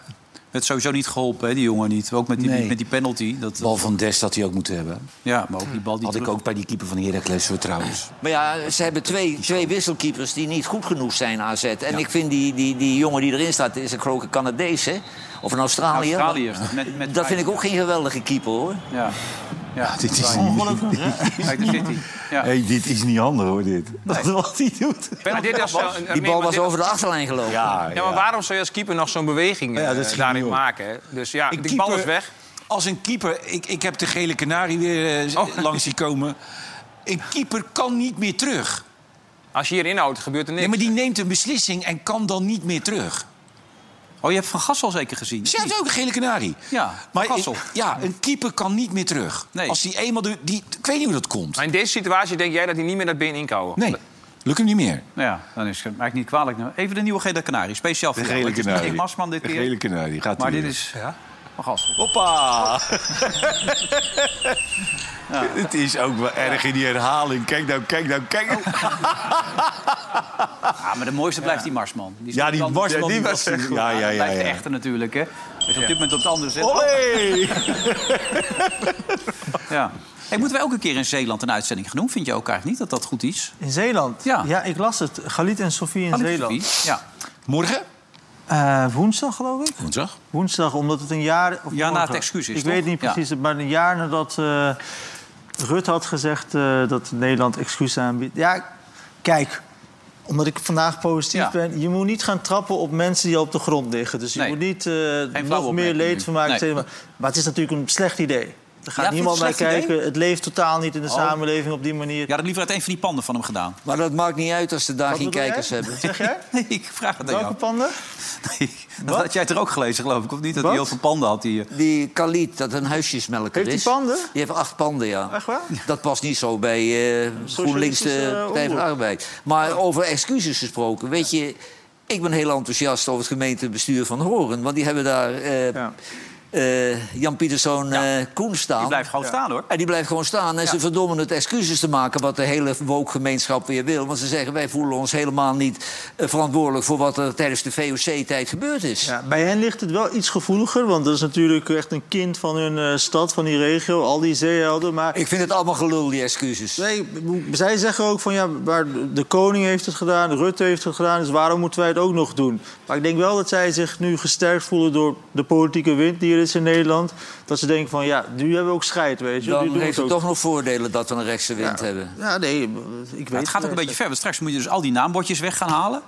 Speaker 1: Het sowieso niet geholpen, hè, die jongen niet. Ook met die,
Speaker 6: Nee.
Speaker 1: met die penalty. Dat,
Speaker 6: Bal van Des dat hij ook moet hebben.
Speaker 1: ja, maar ook die bal die
Speaker 6: Had ik
Speaker 1: terug-
Speaker 6: ook bij die keeper van Heracles hoor, trouwens.
Speaker 5: Maar ja, ze hebben twee, twee wisselkeepers die niet goed genoeg zijn AZ. En ik vind die, die, die jongen die erin staat... is een geloof ik een Canadees, hè? Of een Australiër.
Speaker 1: Australiërs, met- met
Speaker 5: dat vind ik ook geen geweldige keeper, hoor.
Speaker 1: Ja. Ja,
Speaker 6: Dit is,
Speaker 1: uit de City. Ja.
Speaker 6: dit is niet handig hoor, dit.
Speaker 4: Wat hij doet.
Speaker 2: Maar dit is wel een-
Speaker 5: Die
Speaker 2: meer-
Speaker 5: bal
Speaker 2: maar
Speaker 5: was
Speaker 2: dit-
Speaker 5: over de achterlijn gelopen.
Speaker 2: Ja, maar waarom zou je als keeper nog zo'n beweging eh,
Speaker 6: Ja, dat schiet
Speaker 2: daarin
Speaker 6: niet op.
Speaker 2: maken? hè? Dus ja, die
Speaker 6: Een
Speaker 2: bal is
Speaker 6: keeper-
Speaker 2: weg.
Speaker 6: Als een keeper, ik, ik heb de gele kanarie weer eh,
Speaker 2: Oh.
Speaker 6: langs zien komen. Een keeper kan niet meer terug.
Speaker 2: Als je hier inhoudt, gebeurt er niks.
Speaker 6: Nee, maar die neemt een beslissing en kan dan niet meer terug.
Speaker 1: Oh, je hebt Van Gassel zeker gezien?
Speaker 6: Ze heeft ook een gele kanarie.
Speaker 1: Ja,
Speaker 6: maar
Speaker 1: Gassel.
Speaker 6: ik- ja, een keeper kan niet meer terug.
Speaker 1: Nee.
Speaker 6: Als die eenmaal... de- die, ik weet niet hoe dat komt.
Speaker 2: Maar in deze situatie denk jij dat hij niet meer dat been in kan houden?
Speaker 6: Nee, lukt hem niet meer.
Speaker 1: Nou ja, dan is het eigenlijk niet kwalijk. Even de nieuwe Gele Canarie, speciaal voor jou. Het is niet Dick Masman dit keer.
Speaker 9: kanarie. Gaat
Speaker 1: Maar dit is, Maar gas.
Speaker 3: Hoppa!
Speaker 6: Het is ook wel erg in die herhaling. Kijk nou, kijk nou, kijk nou.
Speaker 1: Oh. Ah, maar de mooiste blijft die Marsman. Die is
Speaker 6: Ja, die
Speaker 1: dan-
Speaker 6: Marsman,
Speaker 1: dan-
Speaker 6: die
Speaker 1: dan-
Speaker 6: was
Speaker 1: dan-
Speaker 6: echt
Speaker 1: dan-
Speaker 6: goed. Ja, ja, ja,
Speaker 1: blijft de
Speaker 6: ja.
Speaker 1: echte natuurlijk, hè. Dus op dit moment op de andere zet.
Speaker 6: Olé!
Speaker 1: Ja. Hey, moeten wij ook een keer in Zeeland een uitzending gaan doen? Vind je ook eigenlijk niet dat dat goed is?
Speaker 4: In Zeeland?
Speaker 1: Ja.
Speaker 4: ik las het. Galit en Sofie in Zeeland.
Speaker 1: Ja.
Speaker 6: Morgen?
Speaker 4: Eh, woensdag, geloof ik.
Speaker 6: Woensdag?
Speaker 4: Woensdag, omdat het een jaar... Of
Speaker 1: Ja, na
Speaker 4: morgen.
Speaker 1: het excuus is,
Speaker 4: Ik
Speaker 1: toch?
Speaker 4: weet niet
Speaker 1: Ja.
Speaker 4: precies, maar een jaar nadat eh Rut had gezegd eh, dat Nederland excuus aanbiedt. Ja, kijk, omdat ik vandaag positief
Speaker 1: Ja.
Speaker 4: ben... je moet niet gaan trappen op mensen die al op de grond liggen. Dus je
Speaker 1: Nee.
Speaker 4: moet niet eh, nog meer
Speaker 1: opmerking nu.
Speaker 4: leed van maken.
Speaker 1: Nee.
Speaker 4: Maar maar het is natuurlijk een slecht idee. Er gaat
Speaker 1: Ja, vind je
Speaker 4: niemand
Speaker 1: het
Speaker 4: naar
Speaker 1: een slecht Oh.
Speaker 4: kijken. Het leeft totaal niet in de samenleving op die manier.
Speaker 1: Je had het liever uit een van die panden van hem gedaan.
Speaker 5: Maar dat maakt niet uit als ze daar
Speaker 4: Wat
Speaker 5: geen
Speaker 4: bedoel jij?
Speaker 5: kijkers hebben.
Speaker 4: Zeg jij?
Speaker 1: Nee, ik vraag het aan
Speaker 4: Welke
Speaker 1: jou.
Speaker 4: panden?
Speaker 1: Nee, dat had jij het er ook gelezen, geloof ik, of niet? Dat hij
Speaker 4: Wat?
Speaker 1: heel veel panden had hier.
Speaker 5: Die Khalid, dat een huisjesmelker
Speaker 4: Heeft
Speaker 5: is.
Speaker 4: die panden?
Speaker 5: Die heeft acht panden, ja.
Speaker 4: Echt waar?
Speaker 5: Dat past niet zo bij eh, GroenLinks
Speaker 4: eh,
Speaker 5: de Partij van
Speaker 4: omroep.
Speaker 5: de Arbeid. Maar over excuses gesproken, weet je... Ik ben heel enthousiast over het gemeentebestuur van Horen. Want die hebben daar eh,
Speaker 4: Ja.
Speaker 5: eh, Jan Pieterszoon eh Koen staan.
Speaker 1: Die blijft gewoon staan, hoor.
Speaker 5: En die blijft gewoon staan. En ze verdommen het excuses te maken wat de hele woke-gemeenschap weer wil. Want ze zeggen, wij voelen ons helemaal niet eh, verantwoordelijk... voor wat er tijdens de VOC-tijd gebeurd is.
Speaker 4: Ja, bij hen ligt het wel iets gevoeliger, want dat is natuurlijk echt een kind van hun eh, stad, van die regio, al die zeehelden. Maar
Speaker 5: Ik vind het allemaal gelul, die excuses.
Speaker 4: nee, zij zeggen ook van ja, waar de koning heeft het gedaan, Rutte heeft het gedaan, dus waarom moeten wij het ook nog doen? Maar ik denk wel dat zij zich nu gesterkt voelen door de politieke wind die er is in Nederland. Dat ze denken van ja, nu hebben we ook scheid, weet je. nu doen
Speaker 5: Dan
Speaker 4: we
Speaker 5: heeft
Speaker 4: het
Speaker 5: het toch nog voordelen dat we een rechtse wind hebben.
Speaker 4: Ja, nee, ik weet
Speaker 1: Maar het gaat ook een beetje ver, want straks moet je dus al die naambordjes weg gaan halen.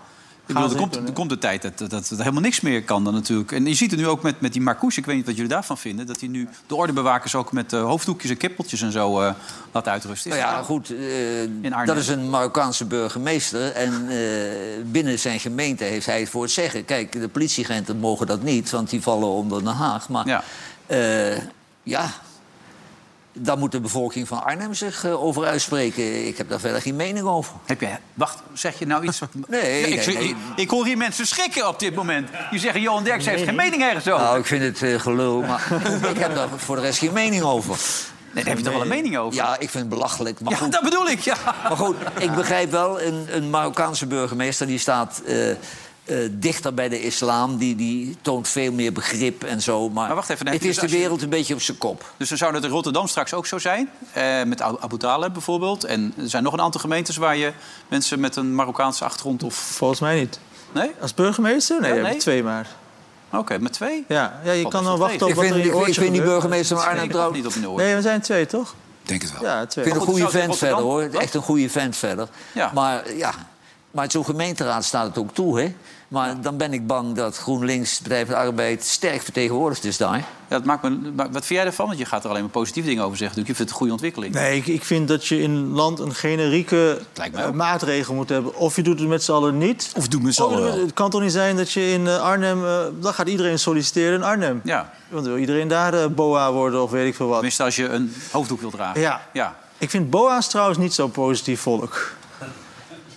Speaker 1: Ik bedoel,
Speaker 4: ze
Speaker 1: er
Speaker 4: niet
Speaker 1: komt,
Speaker 4: doen, hè?
Speaker 1: er komt de tijd dat, dat, dat er helemaal niks meer kan dan natuurlijk. En je ziet het nu ook met, met die Marcouche, ik weet niet wat jullie daarvan vinden... dat hij nu de ordebewakers ook met eh, hoofddoekjes en kippeltjes en zo eh, laat uitrusten. Is
Speaker 5: Nou ja,
Speaker 1: dat-
Speaker 5: goed, eh,
Speaker 1: Arnhem.
Speaker 5: dat is een Marokkaanse burgemeester. En eh, binnen zijn gemeente heeft hij het voor het zeggen. Kijk, de politieagenten mogen dat niet, want die vallen onder Den Haag. Maar
Speaker 1: Ja.
Speaker 5: ja, ja daar moet de bevolking van Arnhem zich eh, over uitspreken. Ik heb daar verder geen mening over.
Speaker 1: Heb je, wacht, zeg je nou iets?
Speaker 5: Nee,
Speaker 1: Ja, ik,
Speaker 5: nee, nee.
Speaker 1: Ik, ik hoor hier mensen schrikken op dit moment. Die zeggen, Johan Derks heeft geen mening ergens over.
Speaker 5: Nou, ik vind het eh, gelul, maar ik heb daar voor de rest geen mening over.
Speaker 1: nee, daar heb je toch wel een mening over?
Speaker 5: Ja, ik vind het belachelijk, maar
Speaker 1: Ja,
Speaker 5: goed.
Speaker 1: dat bedoel ik, ja.
Speaker 5: Maar goed, ik begrijp wel, een, een Marokkaanse burgemeester die staat eh, eh, dichter bij de islam. Die, die toont veel meer begrip en zo. Maar,
Speaker 1: Maar wacht even, dan heb
Speaker 5: het
Speaker 1: je dus
Speaker 5: is de
Speaker 1: als je-
Speaker 5: wereld een beetje op zijn kop.
Speaker 1: Dus dan zou dat in Rotterdam straks ook zo zijn. Eh, met Abu Abu Talib bijvoorbeeld. En er zijn nog een aantal gemeentes waar je mensen met een Marokkaanse achtergrond of...
Speaker 4: Volgens mij niet.
Speaker 1: Nee?
Speaker 4: Als burgemeester? Nee,
Speaker 1: Ja,
Speaker 4: je hebt
Speaker 1: nee.
Speaker 4: twee maar.
Speaker 1: Oké, met twee?
Speaker 4: Ja, ja je
Speaker 1: Wat
Speaker 4: kan
Speaker 1: is
Speaker 4: dan
Speaker 1: dat
Speaker 4: wachten
Speaker 1: tegen?
Speaker 4: op
Speaker 5: Ik
Speaker 4: wat er in
Speaker 5: vind,
Speaker 4: je
Speaker 5: ik, ik
Speaker 4: oortje
Speaker 5: vind die
Speaker 4: gebeurt.
Speaker 5: burgemeester van
Speaker 1: Nee,
Speaker 5: Arnhem
Speaker 1: ik had
Speaker 5: trouw.
Speaker 1: het niet op mijn oor.
Speaker 4: Nee, we zijn twee, toch?
Speaker 6: Denk het wel.
Speaker 4: Ja,
Speaker 5: Ik
Speaker 4: twee.
Speaker 5: vind
Speaker 1: Maar
Speaker 5: een
Speaker 1: goed,
Speaker 5: goede
Speaker 1: zou Oh. het in
Speaker 5: vent verder hoor.
Speaker 1: Rotterdam- Wat?
Speaker 5: Echt een goede vent verder.
Speaker 1: Ja.
Speaker 5: Maar ja, maar zo'n gemeenteraad staat het ook toe, hè? Maar dan ben ik bang dat GroenLinks, Partij van de Arbeid, sterk vertegenwoordigd is daar.
Speaker 1: Ja, dat maakt me, maar wat vind jij ervan? Want je gaat er alleen maar positieve dingen over zeggen. natuurlijk. Je vindt het een goede ontwikkeling.
Speaker 4: Nee, ik, ik vind dat je in een land een generieke
Speaker 1: Lijkt mij
Speaker 4: eh,
Speaker 1: ook.
Speaker 4: maatregel moet hebben. Of je doet het met z'n allen niet.
Speaker 6: Of doen we z'n
Speaker 4: Of
Speaker 6: allen
Speaker 4: je doet-
Speaker 6: wel.
Speaker 4: Het kan toch niet zijn dat je in eh, Arnhem... eh, dan gaat iedereen solliciteren in Arnhem.
Speaker 1: Ja,
Speaker 4: Want dan wil iedereen daar eh, boa worden of weet ik veel wat.
Speaker 1: tenminste als je een hoofddoek wil dragen.
Speaker 4: Ja.
Speaker 1: ja.
Speaker 4: Ik vind boa's trouwens niet zo positief volk.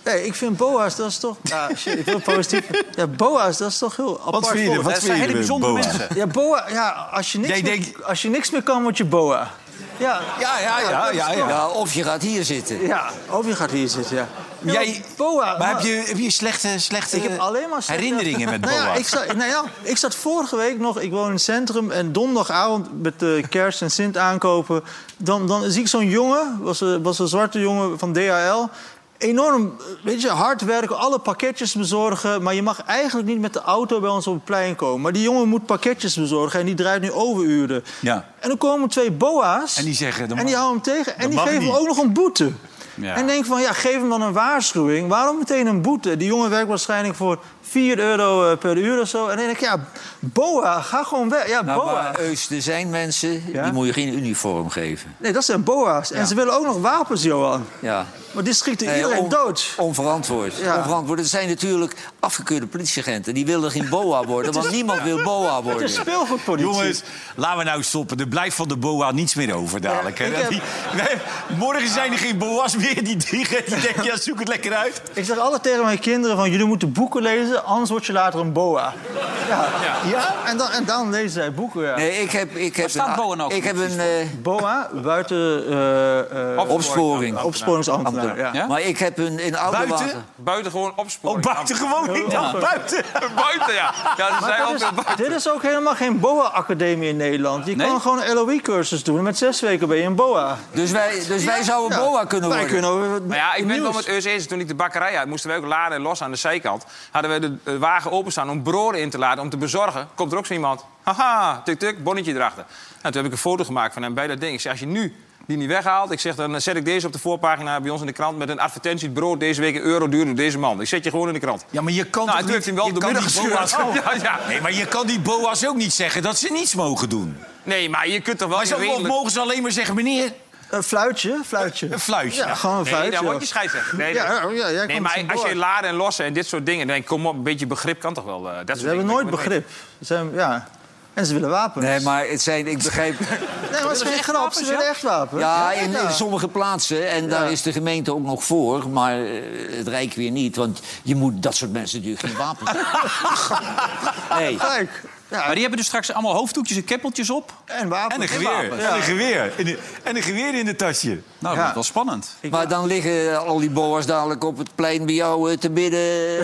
Speaker 4: Nee, ik vind boa's, dat is toch... Ja, shit, ik wil positief... Ja, boa's, dat is toch heel apart
Speaker 6: Wat vind je er-
Speaker 4: volk.
Speaker 6: wat
Speaker 1: Dat zijn
Speaker 6: vind je
Speaker 1: hele
Speaker 6: er,
Speaker 1: bijzondere
Speaker 6: Boa?
Speaker 1: mensen.
Speaker 4: Ja, boa, ja als, je niks
Speaker 6: Jij
Speaker 4: meer,
Speaker 6: denkt-
Speaker 4: als je niks meer kan, word je boa. Ja,
Speaker 6: Ja, ja, ja,
Speaker 4: dat is
Speaker 1: Ah,
Speaker 6: ja,
Speaker 4: toch-
Speaker 6: ja.
Speaker 5: Ja, of je gaat hier zitten.
Speaker 4: Ja, of je gaat hier zitten, ja. Ja,
Speaker 6: Jij-
Speaker 4: want boa,
Speaker 6: Maar heb je, heb je slechte, slechte
Speaker 4: Ik heb alleen maar slechte-
Speaker 6: eh, herinneringen met
Speaker 4: Nou ja,
Speaker 6: Boa?
Speaker 4: ik zat, nou ja, ik zat vorige week nog, ik woon in het centrum... en donderdagavond met de kerst en Sint aankopen... dan, dan zie ik zo'n jongen, was een, was een zwarte jongen van DHL... enorm, eh, weet je, hard werken, alle pakketjes bezorgen... maar je mag eigenlijk niet met de auto bij ons op het plein komen. Maar die jongen moet pakketjes bezorgen en die draait nu overuren.
Speaker 6: Ja.
Speaker 4: En dan komen twee boa's...
Speaker 6: En die zeggen, dat
Speaker 4: en die
Speaker 6: mag-
Speaker 4: houden hem tegen en die
Speaker 6: mag
Speaker 4: geven hem
Speaker 6: niet.
Speaker 4: ook nog een boete.
Speaker 1: Ja.
Speaker 4: En denk van, ja, geef hem dan een waarschuwing. Waarom meteen een boete? Die jongen werkt waarschijnlijk voor 4 euro eh, per uur of zo. En dan denk ik, ja, boa, ga gewoon weg. Ja,
Speaker 5: Nou,
Speaker 4: boa.
Speaker 5: maar Eus, er zijn mensen
Speaker 4: Ja?
Speaker 5: die moet je geen uniform geven.
Speaker 4: Nee, dat zijn boa's. En ze willen ook nog wapens, Johan.
Speaker 5: Ja.
Speaker 4: Maar dit schiet
Speaker 5: Nee,
Speaker 4: iedereen
Speaker 5: Eh, on-
Speaker 4: dood.
Speaker 5: Onverantwoord.
Speaker 4: Ja.
Speaker 5: onverantwoord. Het zijn natuurlijk afgekeurde politieagenten. Die willen geen boa worden, want niemand wil boa
Speaker 4: Het is
Speaker 5: worden.
Speaker 4: speelgoedpolitie.
Speaker 6: Jongens, laten we nou stoppen. Er blijft van de boa niets meer over dadelijk. hè?
Speaker 4: Ja, ik heb-
Speaker 6: Die- nee, morgen zijn er geen boa's meer.
Speaker 10: weer die dingen. Die denken, ja, zoek het lekker uit.
Speaker 4: Ik zeg altijd tegen mijn kinderen van... jullie moeten boeken lezen, anders word je later een boa. Ja, ja. En, dan, en dan lezen zij boeken, ja.
Speaker 5: Nee, ik heb, ik heb
Speaker 1: staat
Speaker 5: een,
Speaker 1: Bowen ook
Speaker 5: Ik heb een
Speaker 4: Nou,
Speaker 5: eh,
Speaker 4: Boa, buiten... eh, eh,
Speaker 5: opsporing.
Speaker 4: opsporingsambtenaar,
Speaker 5: ambtenaar.
Speaker 4: ja.
Speaker 1: Ja?
Speaker 5: Maar ik heb een, in Oudewater...
Speaker 10: Buiten?
Speaker 2: Buitengewoon opsporen.
Speaker 10: Oh, buiten gewoon niet dan. Buiten.
Speaker 2: Buiten, ja. ja ze
Speaker 4: Maar
Speaker 2: zijn ook
Speaker 4: dat is-
Speaker 2: weer buiten.
Speaker 4: dit is ook helemaal geen BOA-academie in Nederland. Je
Speaker 1: Nee?
Speaker 4: kan gewoon een LOE-cursus doen. Met zes weken ben je een BOA.
Speaker 5: Dus wij, dus wij zouden
Speaker 4: Ja.
Speaker 5: boa kunnen
Speaker 4: Wij
Speaker 5: worden.
Speaker 4: kunnen over
Speaker 2: Maar ja, ik ben wel met Eus eens. Toen ik de bakkerij had, moesten we ook laden en los aan de zijkant. Hadden we de eh, wagen openstaan om broden in te laden, om te bezorgen. Komt er ook zo iemand. Haha, tuk tuk, bonnetje erachter. Nou, toen heb ik een foto gemaakt van hem bij dat ding. Ik zeg, als je nu die niet weghaalt, ik zeg, dan zet ik deze op de voorpagina bij ons in de krant... met een advertentie, het brood deze week een euro duurder door deze man. Ik zet je gewoon in de krant.
Speaker 10: Ja, maar je kan
Speaker 2: nou, en
Speaker 10: toch
Speaker 2: toen heeft
Speaker 10: niet...
Speaker 2: hij hem wel
Speaker 10: je kan
Speaker 2: door midden
Speaker 10: die boa's
Speaker 2: gestuurd.
Speaker 1: Oh.
Speaker 10: ook-
Speaker 2: Ja, ja.
Speaker 4: Oh.
Speaker 10: Nee, maar je kan die boa's ook niet zeggen dat ze niets mogen doen.
Speaker 2: Nee, maar je kunt toch wel...
Speaker 10: Maar ze
Speaker 2: redelijk-
Speaker 10: mogen ze alleen maar zeggen, meneer,
Speaker 4: Een fluitje, fluitje.
Speaker 10: een fluitje.
Speaker 4: Ja, gewoon een
Speaker 2: Nee,
Speaker 4: fluitje.
Speaker 2: dan word je scheidsrechter. Nee,
Speaker 4: Ja,
Speaker 2: dat-
Speaker 4: ja, ja,
Speaker 2: nee
Speaker 4: jij komt
Speaker 2: maar
Speaker 4: zo'n
Speaker 2: als je
Speaker 4: boa.
Speaker 2: laden en lossen en dit soort dingen... dan denk ik, kom op, een beetje begrip kan toch wel... eh, dat
Speaker 4: Ze
Speaker 2: soort
Speaker 4: hebben
Speaker 2: dingen.
Speaker 4: nooit begrip. Ze hebben- ja. En ze willen wapens.
Speaker 5: Nee, maar het zijn, ik begrijp...
Speaker 4: Nee, maar het is geen grap. Ze willen echt wapens.
Speaker 5: Ja, in, in sommige plaatsen. En daar is de gemeente ook nog voor. Maar eh, het Rijk weer niet. Want je moet dat soort mensen natuurlijk geen wapens Nee.
Speaker 4: Kijk. Ja,
Speaker 1: Maar die hebben dus straks allemaal hoofddoekjes en keppeltjes op.
Speaker 4: en wapens.
Speaker 10: En een geweer.
Speaker 4: Ja.
Speaker 10: En een geweer. En een, en een geweer in de tasje.
Speaker 1: Nou, dat
Speaker 4: Ja.
Speaker 1: is wel spannend.
Speaker 5: Maar dan liggen eh, al die boa's dadelijk op het plein bij jou eh, te bidden.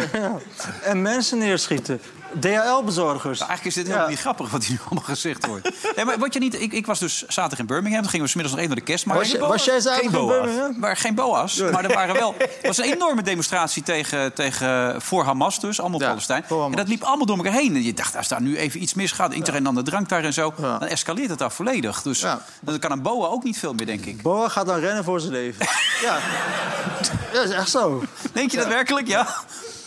Speaker 4: En mensen neerschieten. DHL-bezorgers.
Speaker 1: Eigenlijk is dit
Speaker 4: Ja.
Speaker 1: helemaal niet grappig wat hier allemaal gezegd wordt. Nee, maar word je niet, ik, ik was dus zaterdag in Birmingham. Toen gingen we smiddags nog even naar de kerstmarkt.
Speaker 4: Was, je- was jij zaterdag
Speaker 10: Geen
Speaker 4: in
Speaker 10: boa's.
Speaker 4: Birmingham?
Speaker 1: Maar geen boa's, maar er waren wel. Het was een enorme demonstratie tegen, tegen, voor Hamas, dus, allemaal
Speaker 4: Ja,
Speaker 1: Palestijn.
Speaker 4: voor Hamas.
Speaker 1: En dat liep allemaal door elkaar heen. En je dacht, als daar nu even iets misgaat, iedereen aan de drank daar en zo, dan escaleert het daar volledig. Dus
Speaker 4: Ja.
Speaker 1: dan kan een boa ook niet veel meer, denk ik.
Speaker 4: Boa gaat dan rennen voor zijn leven. ja. Dat is echt zo.
Speaker 1: Denk je dat werkelijk? Ja.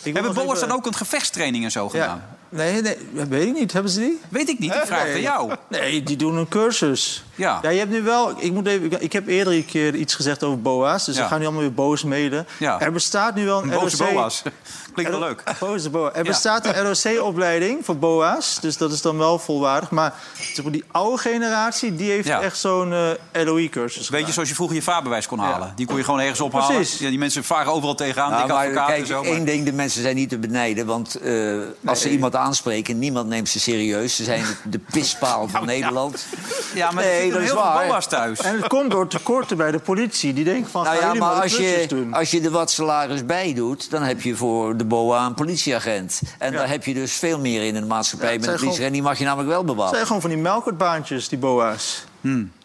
Speaker 4: wil
Speaker 1: Hebben
Speaker 4: nog
Speaker 1: boa's
Speaker 4: even-
Speaker 1: dan ook een gevechtstraining en zo gedaan?
Speaker 4: Ja. Nee, nee, dat weet ik niet. Hebben ze die?
Speaker 1: Weet ik niet, ik vraag het aan jou.
Speaker 4: Nee, die doen een cursus.
Speaker 1: Ja.
Speaker 4: ja je hebt nu wel. Ik, moet even, ik heb eerder een keer iets gezegd over boa's. Dus
Speaker 1: Ja.
Speaker 4: we gaan nu allemaal weer boos mede.
Speaker 1: Ja.
Speaker 4: Er bestaat nu wel een
Speaker 1: Boze
Speaker 4: ROC
Speaker 1: boa's. Klinkt wel leuk.
Speaker 4: Boze boa. Er
Speaker 1: Ja.
Speaker 4: bestaat een ROC-opleiding voor boa's. Dus dat is dan wel volwaardig. Maar zeg maar, die oude generatie die heeft
Speaker 1: Ja.
Speaker 4: echt zo'n eh LOE-cursus.
Speaker 1: Weet je, zoals je vroeger je vaarbewijs kon halen. Die kon je gewoon ergens ophalen.
Speaker 4: Precies.
Speaker 1: Ja, die mensen varen overal tegenaan.
Speaker 5: Nou,
Speaker 1: dikke
Speaker 5: maar
Speaker 1: advocaten
Speaker 5: kijk,
Speaker 1: en zo. maar-
Speaker 5: één ding, de mensen zijn niet te benijden. Want eh, als ze iemand aanspreken, niemand neemt ze serieus. Ze zijn de pispaal van Nederland.
Speaker 1: Ja, maar
Speaker 5: Nee,
Speaker 1: er zitten
Speaker 5: dat is
Speaker 1: heel veel
Speaker 5: waar.
Speaker 1: boa's thuis.
Speaker 4: En het komt door tekorten bij de politie. Die denken van,
Speaker 5: Nou
Speaker 4: gaan
Speaker 5: ja,
Speaker 4: jullie maar,
Speaker 5: maar
Speaker 4: de
Speaker 5: als
Speaker 4: cursus
Speaker 5: je,
Speaker 4: doen.
Speaker 5: als je er wat salaris bij doet... dan heb je voor de BOA een politieagent. En daar heb je dus veel meer in in de maatschappij
Speaker 4: Ja, het
Speaker 5: met een
Speaker 4: zijn
Speaker 5: politieagent. Die mag je namelijk wel
Speaker 4: Het
Speaker 5: bewaren.
Speaker 4: zijn gewoon van die melkertbaantjes, die boa's.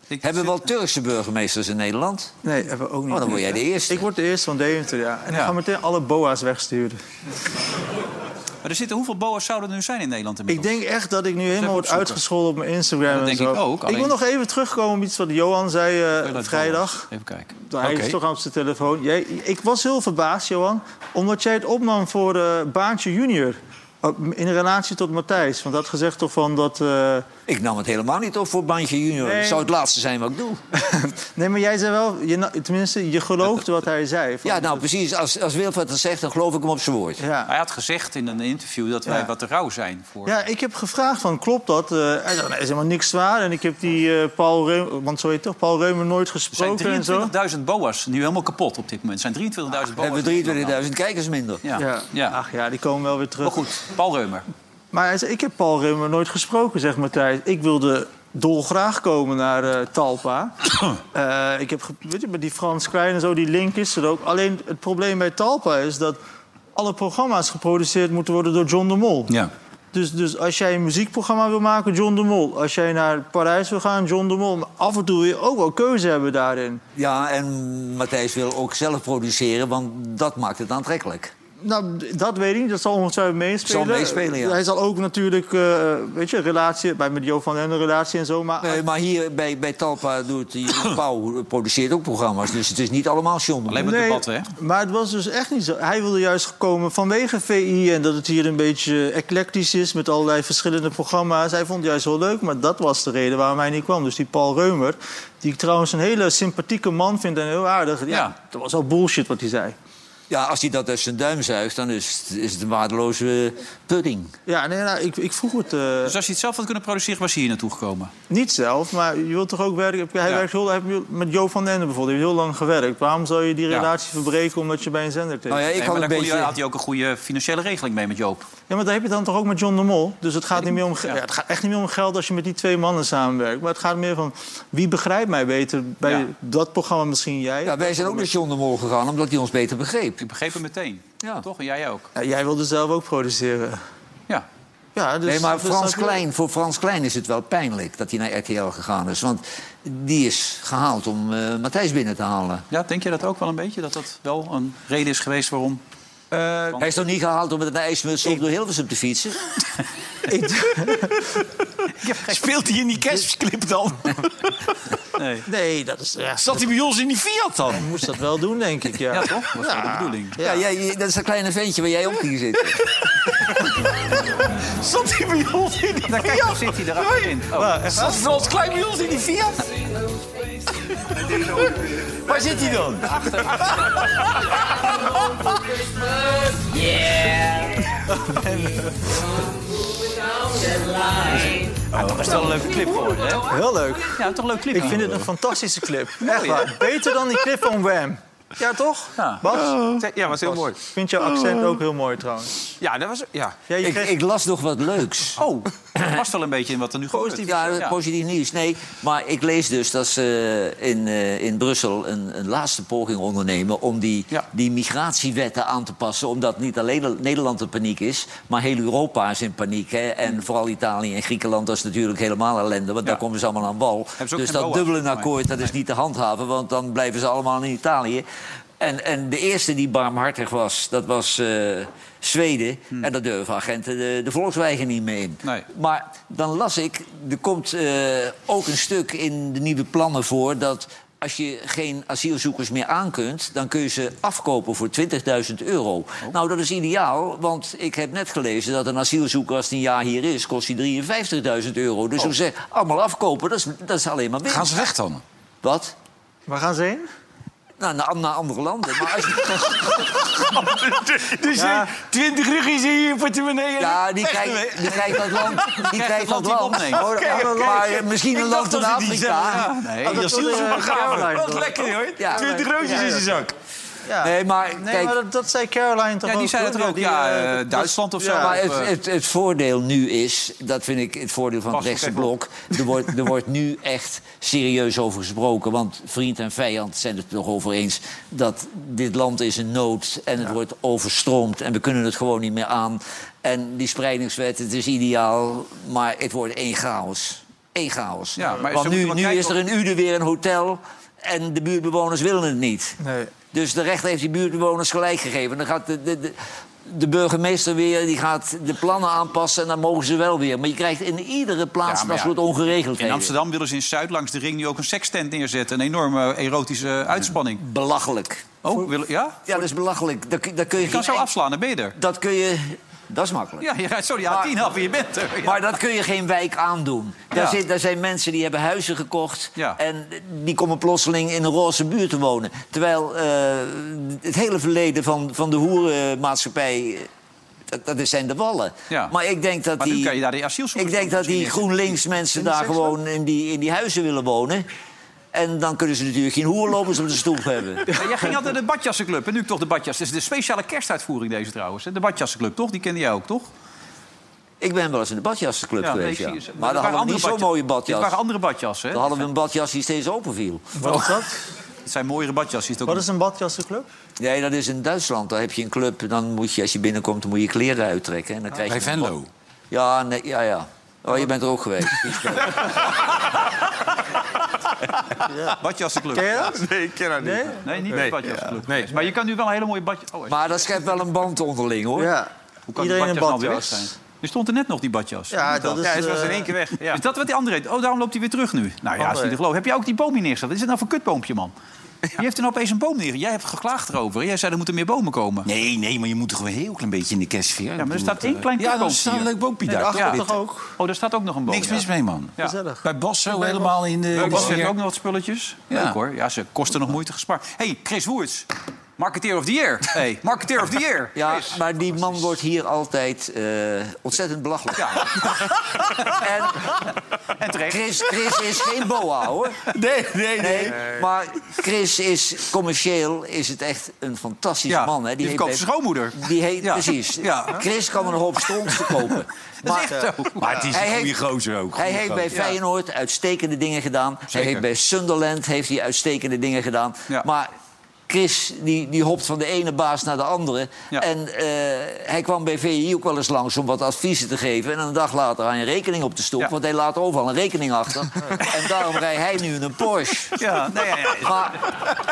Speaker 1: Ik
Speaker 5: Hebben
Speaker 1: zit-
Speaker 5: we wel Turkse burgemeesters in Nederland?
Speaker 4: Nee, hebben we ook niet.
Speaker 5: Oh, dan word jij de eerste.
Speaker 4: Ik word de eerste van Deventer, ja. En ik
Speaker 1: Ja.
Speaker 4: ga meteen alle boa's wegsturen.
Speaker 1: Maar er zitten, hoeveel boa's zouden er nu zijn in Nederland
Speaker 4: Ik
Speaker 1: inmiddels?
Speaker 4: denk echt dat ik nu helemaal
Speaker 1: Even
Speaker 4: word
Speaker 1: opzoeken.
Speaker 4: uitgescholden op mijn Instagram
Speaker 1: Dat
Speaker 4: en
Speaker 1: denk
Speaker 4: zo.
Speaker 1: ik ook, alleen-
Speaker 4: wil nog even terugkomen op iets wat Johan zei eh,
Speaker 1: Hoeveelheid
Speaker 4: vrijdag.
Speaker 1: boa's? Even kijken.
Speaker 4: Hij is toch op zijn telefoon. Jij, ik was heel verbaasd, Johan, omdat jij het opnam voor eh, Baantje junior. Op- In relatie tot Matthijs. Want dat gezegd toch van dat... eh,
Speaker 5: Ik nam het helemaal niet op voor Bandje Junior.
Speaker 4: Nee.
Speaker 5: Dat zou het laatste zijn wat ik doe.
Speaker 4: Nee, maar jij zei wel... Je, na- tenminste, je geloofde wat hij zei. Van-
Speaker 5: Ja, nou precies. Als, als Wilfred dat zegt, dan geloof ik hem op zijn woord.
Speaker 4: ja.
Speaker 1: Hij had gezegd in een interview dat wij
Speaker 4: Ja.
Speaker 1: wat te rauw zijn voor...
Speaker 4: Ja, ik heb gevraagd van, klopt dat? Eh, hij zei, nee, is helemaal niks zwaar. En ik heb die eh, Paul Reumer, want zo heet het toch, Paul Reumer nooit
Speaker 1: Er zijn
Speaker 4: gesproken eh, en zo.
Speaker 1: 23.000 boa's nu helemaal kapot op dit moment. Er zijn 23.000
Speaker 5: We
Speaker 1: boa's.
Speaker 5: hebben 23.000 kijkers minder.
Speaker 1: Ja. Ja.
Speaker 4: Ach ja, die komen wel weer terug.
Speaker 1: Maar goed, Paul Reumer.
Speaker 4: Maar hij zei, ik heb Paul Reumer nooit gesproken, zegt Matthijs. Ik wilde dolgraag komen naar eh, Talpa. Eh, ik heb, ge- weet je, met die Frans Klein en zo, die link is er ook. Alleen het probleem bij Talpa is dat alle programma's geproduceerd moeten worden door John de Mol.
Speaker 1: Ja.
Speaker 4: Dus, dus als jij een muziekprogramma wil maken, John de Mol. Als jij naar Parijs wil gaan, John de Mol. Maar af en toe wil je ook wel keuze hebben daarin.
Speaker 5: Ja, en Matthijs wil ook zelf produceren, want dat maakt het aantrekkelijk.
Speaker 4: Nou, d- dat weet ik niet. Dat zal ongetwijfeld meespelen.
Speaker 5: Zal meespelen, ja.
Speaker 4: Hij zal ook natuurlijk, eh, weet je, relatie... Bij met Jo van Lenne relatie en zo. Maar
Speaker 1: Ah.
Speaker 5: Nee, maar hier bij, bij Talpa doet die Pauw produceert ook programma's. Dus het is niet allemaal John.
Speaker 1: Alleen maar debatten, hè?
Speaker 4: maar het was dus echt niet zo. Hij wilde juist komen vanwege VI en dat het hier een beetje eclectisch is met allerlei verschillende programma's. Hij vond het juist wel leuk, maar dat was de reden waarom hij niet kwam. Dus die Paul Reumer, die ik trouwens een hele sympathieke man vind en heel aardig. Ja,
Speaker 1: Ja.
Speaker 4: dat was al bullshit wat hij zei.
Speaker 5: Ja, als hij dat uit zijn duim zuigt, dan is het, is het een waardeloze pudding.
Speaker 4: Ja, nee, nou, ik, ik vroeg het... eh,
Speaker 1: Dus als je het zelf had kunnen produceren, was je hier naartoe gekomen.
Speaker 4: Niet zelf, maar je wilt toch ook werken... Hij
Speaker 1: Ja.
Speaker 4: werkt heel, hij heeft met Jo van den Ende bijvoorbeeld. Die heeft heel lang gewerkt. Waarom zou je die
Speaker 1: Ja.
Speaker 4: relatie verbreken omdat je bij een zender tekent?
Speaker 5: Nou ja, ik
Speaker 1: Nee,
Speaker 5: had
Speaker 1: maar
Speaker 5: een
Speaker 1: daar kon je-
Speaker 5: beetje...
Speaker 1: had hij ook een goede financiële regeling mee met Joop.
Speaker 4: Ja, maar dat heb je dan toch ook met John de Mol? Dus het gaat, niet meer om, ge-
Speaker 1: ja.
Speaker 4: ja, het gaat echt niet meer om geld als je met die twee mannen samenwerkt. Maar het gaat meer van wie begrijpt mij beter bij
Speaker 1: Ja.
Speaker 4: dat programma misschien jij.
Speaker 5: Ja, wij zijn ook naar John de Mol gegaan, omdat hij ons beter begreep.
Speaker 1: Ik begreep hem meteen.
Speaker 5: Ja.
Speaker 1: Toch? En jij ook.
Speaker 4: Ja, jij wilde zelf ook produceren.
Speaker 1: Ja.
Speaker 4: Ja, dus,
Speaker 5: nee, maar
Speaker 4: dus
Speaker 5: Frans
Speaker 4: dat-
Speaker 5: Klein, voor Frans Klein is het wel pijnlijk dat hij naar RTL gegaan is. Want die is gehaald om eh, Matthijs binnen te halen.
Speaker 1: ja, denk je dat ook wel een beetje? Dat dat wel een reden is geweest waarom...
Speaker 5: Hij is toch niet gehaald om met een ijsmuts op door Hilversum te fietsen?
Speaker 10: Speelt hij in die kerstclip dan?
Speaker 1: Nee.
Speaker 4: Nee, dat is. Ja,
Speaker 10: Zat hij bij ons in die Fiat dan?
Speaker 4: je moest dat wel doen, denk ik. Ja.
Speaker 1: Ja, toch? Dat was wel de bedoeling.
Speaker 5: Ja, jij- dat is dat kleine ventje waar jij op ging zitten.
Speaker 10: Zat hij bij ons in die
Speaker 1: Daar kijk, daar zit hij erachterin. Oh.
Speaker 10: Zat Frans Klein bij ons in die Fiat? Waar zit hij dan?
Speaker 1: Dat is wel een leuke clip geworden, hè?
Speaker 4: Heel leuk.
Speaker 1: Ja, toch een leuk clip.
Speaker 4: Ik vind het een fantastische clip. Echt waar. Beter dan die clip van Wham. Ja, toch?
Speaker 1: Ja.
Speaker 4: Bas?
Speaker 2: Ja, was heel mooi.
Speaker 4: Ik vind jouw accent ook heel mooi trouwens.
Speaker 2: Ja, dat was... Ja.
Speaker 4: Ja, je
Speaker 5: Ik,
Speaker 4: kreeg-
Speaker 5: ik las nog wat leuks.
Speaker 1: Oh, dat past wel een beetje in wat er nu gebeurt.
Speaker 5: Ja,
Speaker 1: eh, Ja.
Speaker 5: positief nieuws. Nee, maar ik lees dus dat ze eh, in, eh, in Brussel een, een laatste poging ondernemen... om die,
Speaker 1: Ja.
Speaker 5: die migratiewetten aan te passen. Omdat niet alleen Nederland in paniek is, maar heel Europa is in paniek. Hè?
Speaker 1: Mm.
Speaker 5: En vooral Italië en Griekenland, dat is natuurlijk helemaal ellende. Want daar komen ze allemaal aan wal.
Speaker 1: ze ook
Speaker 5: Dus
Speaker 1: geen
Speaker 5: dat
Speaker 1: BOA's,
Speaker 5: dubbele
Speaker 1: volgens mij.
Speaker 5: akkoord, dat is niet te handhaven. Want dan blijven ze allemaal in Italië. En, en de eerste die barmhartig was, dat was eh, Zweden.
Speaker 10: Hmm.
Speaker 5: En daar durven agenten de, de volkswijgen niet mee in.
Speaker 1: Nee.
Speaker 5: Maar dan las ik, er komt eh, ook een stuk in de nieuwe plannen voor dat als je geen asielzoekers meer aankunt, dan kun je ze afkopen voor 20.000 euro.
Speaker 10: Oh.
Speaker 5: Nou, dat is ideaal, want ik heb net gelezen dat een asielzoeker als hij een jaar hier is, kost hij 53.000 euro. Dus hoe ze allemaal afkopen, dat is, dat is alleen maar winst.
Speaker 10: Oh. Gaan ze weg dan?
Speaker 5: Wat?
Speaker 4: Waar gaan ze heen?
Speaker 5: Nou, naar, naar andere landen. Maar als je-
Speaker 10: Dus
Speaker 4: Ja.
Speaker 10: 20 ruggies in je portemonnee. en-
Speaker 5: ja, die krijgt, die krijgt dat land. Die krijgt
Speaker 1: land
Speaker 5: dat
Speaker 1: die
Speaker 5: land.
Speaker 1: opneemt.
Speaker 5: Maar-
Speaker 10: Oké, oké.
Speaker 5: Maar eh, misschien een
Speaker 10: Ik
Speaker 5: land
Speaker 10: dacht
Speaker 5: van
Speaker 10: dat ze die
Speaker 5: Afrika.
Speaker 10: zeggen, ja.
Speaker 4: Oh,
Speaker 10: Nee,
Speaker 4: dat
Speaker 10: je
Speaker 4: wilde, eh, Caroline
Speaker 10: Wat
Speaker 4: toch?
Speaker 10: lekker hoor.
Speaker 5: Ja.
Speaker 10: 20 roodjes in zijn zak.
Speaker 4: Ja.
Speaker 5: Nee, maar
Speaker 4: Nee,
Speaker 5: kijk,
Speaker 4: maar dat, dat zei Caroline toch
Speaker 1: Ja, die
Speaker 4: ook,
Speaker 1: zei
Speaker 4: hoor?
Speaker 1: dat er ook.
Speaker 4: die,
Speaker 1: Ja,
Speaker 4: eh,
Speaker 1: eh,
Speaker 4: dat-
Speaker 1: Duitsland of zo.
Speaker 4: Ja,
Speaker 5: Maar
Speaker 1: Of,
Speaker 5: het,
Speaker 1: eh,
Speaker 5: het, het voordeel nu is, dat vind ik het voordeel van het
Speaker 1: Pas op,
Speaker 5: rechtse
Speaker 1: even
Speaker 5: blok... Er wordt, er wordt nu echt serieus over gesproken. Want vriend en vijand zijn het er toch over eens... dat dit land is in nood en het wordt overstroomd... en we kunnen het gewoon niet meer aan. En die spreidingswet, het is ideaal, maar het wordt één chaos. Eén chaos.
Speaker 1: Ja, maar ze
Speaker 5: want nu,
Speaker 1: moeten
Speaker 5: nu
Speaker 1: maar
Speaker 5: is er
Speaker 1: kijken
Speaker 5: in Uden weer een hotel... en de buurtbewoners willen het niet.
Speaker 4: Nee.
Speaker 5: Dus de rechter heeft die buurtbewoners gelijk gegeven. Dan gaat de, de, de, de burgemeester weer die gaat de plannen aanpassen en dan mogen ze wel weer. Maar je krijgt in iedere plaats
Speaker 1: Ja, maar
Speaker 5: dat
Speaker 1: ja,
Speaker 5: soort ongeregeldheden.
Speaker 1: In Amsterdam willen ze in Zuid langs de ring nu ook een sekstent neerzetten. Een enorme eh, erotische uitspanning.
Speaker 5: Belachelijk.
Speaker 1: Oh, willen, ja?
Speaker 5: Ja, dat is belachelijk. Dat, kun- dat kun je,
Speaker 1: Je kan
Speaker 5: geen
Speaker 1: zo
Speaker 5: enk-
Speaker 1: afslaan, dan ben je er.
Speaker 5: Dat kun je... Dat is makkelijk.
Speaker 1: Ja, je rijdt zo die A10 af en je bent er. Ja.
Speaker 5: Maar dat kun je geen wijk aandoen. Daar,
Speaker 1: Ja.
Speaker 5: zit, daar zijn mensen die hebben huizen gekocht...
Speaker 1: Ja.
Speaker 5: en die komen plotseling in een roze buurt te wonen. Terwijl eh, het hele verleden van, van de hoerenmaatschappij... eh, Dat, dat zijn de wallen.
Speaker 1: Ja.
Speaker 5: Maar ik denk dat
Speaker 1: Maar nu
Speaker 5: die...
Speaker 1: kan je daar die asielzoekers dus
Speaker 5: ik denk dat die GroenLinks mensen daar gewoon in die, in die huizen willen wonen. En dan kunnen ze natuurlijk geen hoerlopers op de stoep hebben.
Speaker 1: Ja, jij ging altijd naar de badjassenclub. En nu toch de badjas. Het is de speciale kerstuitvoering deze trouwens. hè? De badjassenclub, toch? Die kende jij ook, toch?
Speaker 5: Ik ben wel eens in de badjassenclub
Speaker 1: Ja,
Speaker 5: geweest,
Speaker 1: nee,
Speaker 5: ja.
Speaker 1: ik zie-
Speaker 5: Maar
Speaker 1: dit
Speaker 5: dan
Speaker 1: waren
Speaker 5: hadden we niet
Speaker 1: andere
Speaker 5: zo'n mooie
Speaker 1: Dit
Speaker 5: badjas.
Speaker 1: waren andere badjassen, hè?
Speaker 5: Dan hadden we een badjas die steeds open viel.
Speaker 4: Wat is dat?
Speaker 1: Het zijn mooiere badjassen. is het ook
Speaker 4: Wat is een badjassenclub?
Speaker 5: Nee, dat is in Duitsland. Daar heb je een club. Dan moet je, als je binnenkomt, dan moet je kleren uittrekken. En dan krijg je
Speaker 10: Bij
Speaker 5: een
Speaker 10: Venlo.
Speaker 5: bad- Ja, nee, ja, ja. Oh, je bent er ook geweest.
Speaker 1: een badjassenclub.
Speaker 4: Ken je dat?
Speaker 2: Nee, ik ken haar niet.
Speaker 4: Nee?
Speaker 1: Nee, niet de badjassenclub. Nee. Maar je kan nu wel een hele mooie badjas... Oh,
Speaker 5: Maar dat schept wel een band onderling, hoor.
Speaker 4: Ja.
Speaker 1: hoe kan
Speaker 4: Iedereen
Speaker 1: die
Speaker 4: een
Speaker 1: badjas nou weer weg
Speaker 4: badjas.
Speaker 1: zijn? Er stond er net nog die badjas.
Speaker 4: Ja, dat is...
Speaker 2: Ja, het was in
Speaker 4: eh,
Speaker 2: één keer weg. Ja.
Speaker 1: Is dat wat die andere heet? Oh, daarom loopt hij weer terug nu. Nou ja, dat is niet te
Speaker 4: André.
Speaker 1: geloven. Heb jij ook die boom hier neergezet? Wat is het nou voor kutboompje, man? Je heeft er nou opeens een boom neer. Jij hebt geklaagd erover. Jij zei, er moeten meer bomen komen.
Speaker 10: Nee, nee, maar je moet toch wel een heel klein beetje in de kerstsfeer. eh,
Speaker 1: Ja, maar er staat één klein
Speaker 10: Ja, dat
Speaker 1: kutboompje
Speaker 10: is een
Speaker 1: hier.
Speaker 10: leuk boompje daar.
Speaker 4: Daarachter
Speaker 10: toch?
Speaker 4: toch ook?
Speaker 1: Oh, daar staat ook nog een boom.
Speaker 10: Niks
Speaker 1: ja.
Speaker 10: mis mee, man.
Speaker 1: Ja.
Speaker 4: Gezellig.
Speaker 10: Bij Bos zo helemaal in de, in de
Speaker 1: Ook,
Speaker 10: sfeer.
Speaker 1: ook nog wat spulletjes.
Speaker 10: Ja.
Speaker 1: Leuk hoor. Ja, ze kosten nog moeite gespaard. hey, Chris Woerts. Marketeer of the year. Hey, marketeer of the year.
Speaker 5: Ja, maar die man wordt hier altijd eh, ontzettend belachelijk.
Speaker 1: En terecht.
Speaker 5: Chris, Chris is geen boa, hoor.
Speaker 3: Nee, nee,
Speaker 5: Nee, maar Chris is commercieel is het echt een fantastische
Speaker 1: Ja,
Speaker 5: man. Hè.
Speaker 1: die
Speaker 5: heeft
Speaker 1: verkoopt zijn schoonmoeder.
Speaker 5: Die heet,
Speaker 1: Ja.
Speaker 5: Precies.
Speaker 1: Ja.
Speaker 5: Chris kan een hoop stront verkopen.
Speaker 1: is echt zo.
Speaker 10: Maar het is
Speaker 5: eh, Hij
Speaker 10: een goede
Speaker 5: heeft-
Speaker 10: gozer ook.
Speaker 5: Hij heeft bij Feyenoord uitstekende dingen gedaan. Hij heeft bij Sunderland heeft hij uitstekende dingen gedaan.
Speaker 1: Ja.
Speaker 5: Maar Chris die, die hopt van de ene baas naar de andere.
Speaker 1: Ja.
Speaker 5: En eh, hij kwam bij VI ook wel eens langs om wat adviezen te geven. En een dag later aan een rekening op te stoppen.
Speaker 1: Ja.
Speaker 5: Want hij laat overal een rekening achter. en daarom rijdt hij nu in een Porsche.
Speaker 1: Ja, nee, ja, ja.
Speaker 5: Maar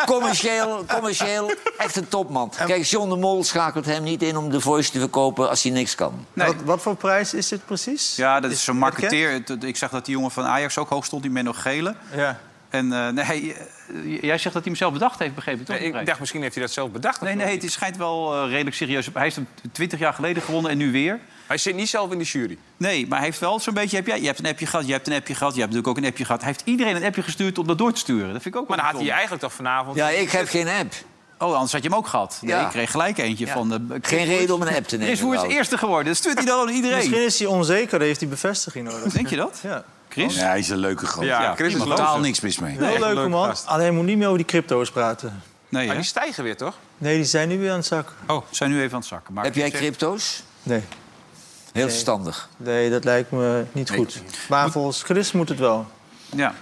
Speaker 5: commercieel, commercieel echt een topman. Kijk, John de Mol schakelt hem niet in om de voice te verkopen als hij niks kan.
Speaker 1: Nee.
Speaker 4: Wat, wat voor prijs is dit precies?
Speaker 1: Ja, dat is zo'n
Speaker 4: bekend?
Speaker 1: marketeer. Het- Ik zag dat die jongen van Ajax ook hoog stond, die Menno Gele.
Speaker 4: Ja.
Speaker 1: En eh, nee, eh, jij zegt dat hij hem zelf bedacht heeft, begreep ik toch?
Speaker 2: Nee, ik dacht, misschien heeft hij dat zelf bedacht.
Speaker 1: nee, nee, het schijnt wel eh, redelijk serieus. Hij heeft hem 20 jaar geleden gewonnen en nu weer.
Speaker 2: Hij zit niet zelf in de jury.
Speaker 1: Nee, maar hij heeft wel zo'n beetje... Heb jij, je hebt een appje gehad, je hebt een appje gehad, je hebt natuurlijk ook een appje gehad. Hij heeft iedereen een appje gestuurd om dat door te sturen. Dat vind ik ook
Speaker 2: Maar dan
Speaker 1: wel
Speaker 2: had hij
Speaker 1: bijzonder.
Speaker 2: eigenlijk toch vanavond...
Speaker 5: Ja, ik heb geen app.
Speaker 1: Oh, anders had je hem ook gehad. Nee,
Speaker 5: Ja.
Speaker 1: ik kreeg gelijk eentje van... De,
Speaker 5: Geen reden om een app te nemen.
Speaker 1: Chris Woerts
Speaker 5: Wout.
Speaker 1: is eerste geworden. Dat stuurt hij dan aan
Speaker 4: Misschien
Speaker 1: iedereen.
Speaker 4: is hij onzeker, heeft hij bevestiging nodig.
Speaker 1: Denk je dat?
Speaker 4: Ja.
Speaker 1: Chris?
Speaker 10: hij is een leuke gozer.
Speaker 2: Ja,
Speaker 1: Ja,
Speaker 2: Chris is
Speaker 1: iemand
Speaker 2: loos.
Speaker 10: Totaal niks mis mee.
Speaker 4: Heel leuke man. Alleen hij moet niet meer over die crypto's praten.
Speaker 1: Nee,
Speaker 2: Maar
Speaker 1: hè?
Speaker 2: die stijgen weer, toch?
Speaker 4: Nee, die zijn nu weer aan het zakken.
Speaker 1: Oh, zijn nu even aan het zakken. Maar
Speaker 5: Heb jij crypto's?
Speaker 4: Nee,
Speaker 5: Heel verstandig.
Speaker 4: nee dat lijkt me niet goed. Maar volgens Chris moet het wel.
Speaker 1: Ja.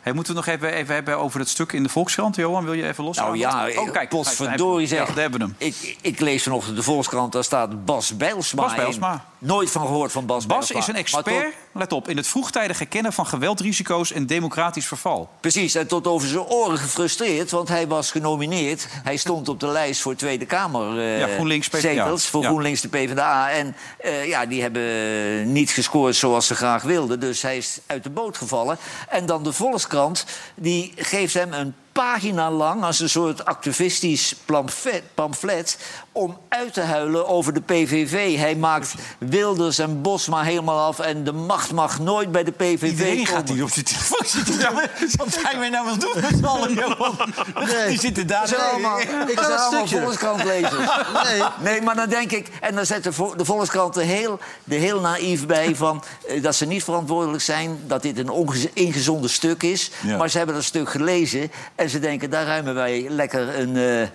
Speaker 1: Hey, moeten we nog even, even hebben over het stuk in de Volkskrant, Johan? Wil je even los?
Speaker 5: Nou ja,
Speaker 1: Oh,
Speaker 5: eh, potverdorie
Speaker 1: Ja,
Speaker 5: zeg.
Speaker 1: daar hebben we hem.
Speaker 5: Ik, ik lees vanochtend de Volkskrant, daar staat Bas Bijlsma
Speaker 1: Bas Bijlsma.
Speaker 5: in. Nooit van gehoord van Bas
Speaker 1: Bas
Speaker 5: Bijlsma.
Speaker 1: is een
Speaker 5: Maar tot-
Speaker 1: expert, let op, in het vroegtijdig herkennen van geweldrisico's en democratisch verval.
Speaker 5: precies, en tot over zijn oren gefrustreerd, want hij was genomineerd. Hij stond op de lijst voor Tweede Kamer eh,
Speaker 1: Ja, GroenLinks, PvdA.
Speaker 5: zetels, voor
Speaker 1: Ja.
Speaker 5: GroenLinks de PvdA. En eh, ja, die hebben niet gescoord zoals ze graag wilden, dus hij is uit de boot gevallen. En dan de Volkskrant, die geeft hem een pagina lang als een soort activistisch pamflet, pamflet om uit te huilen over de PVV. Hij maakt Wilders en Bosma helemaal af en de macht mag nooit bij de PVV
Speaker 10: Iedereen
Speaker 5: komen.
Speaker 10: gaat hier op zijn telefoon zitten. Wat zijn wij nou aan het doen met z'n allen, Johan? Die zitten daar.
Speaker 5: Dat zijn allemaal, ik
Speaker 4: kan
Speaker 5: zijn
Speaker 4: een
Speaker 5: allemaal
Speaker 4: stukje.
Speaker 5: Volkskrant-lezers.
Speaker 4: Nee.
Speaker 5: Nee, maar dan denk ik... En dan zet de, Vo- de Volkskrant er heel, er heel naïef bij van... eh, dat ze niet verantwoordelijk zijn, dat dit een onge- ingezonde stuk is.
Speaker 10: Ja.
Speaker 5: Maar ze hebben dat stuk gelezen en ze denken... daar ruimen wij lekker een... eh,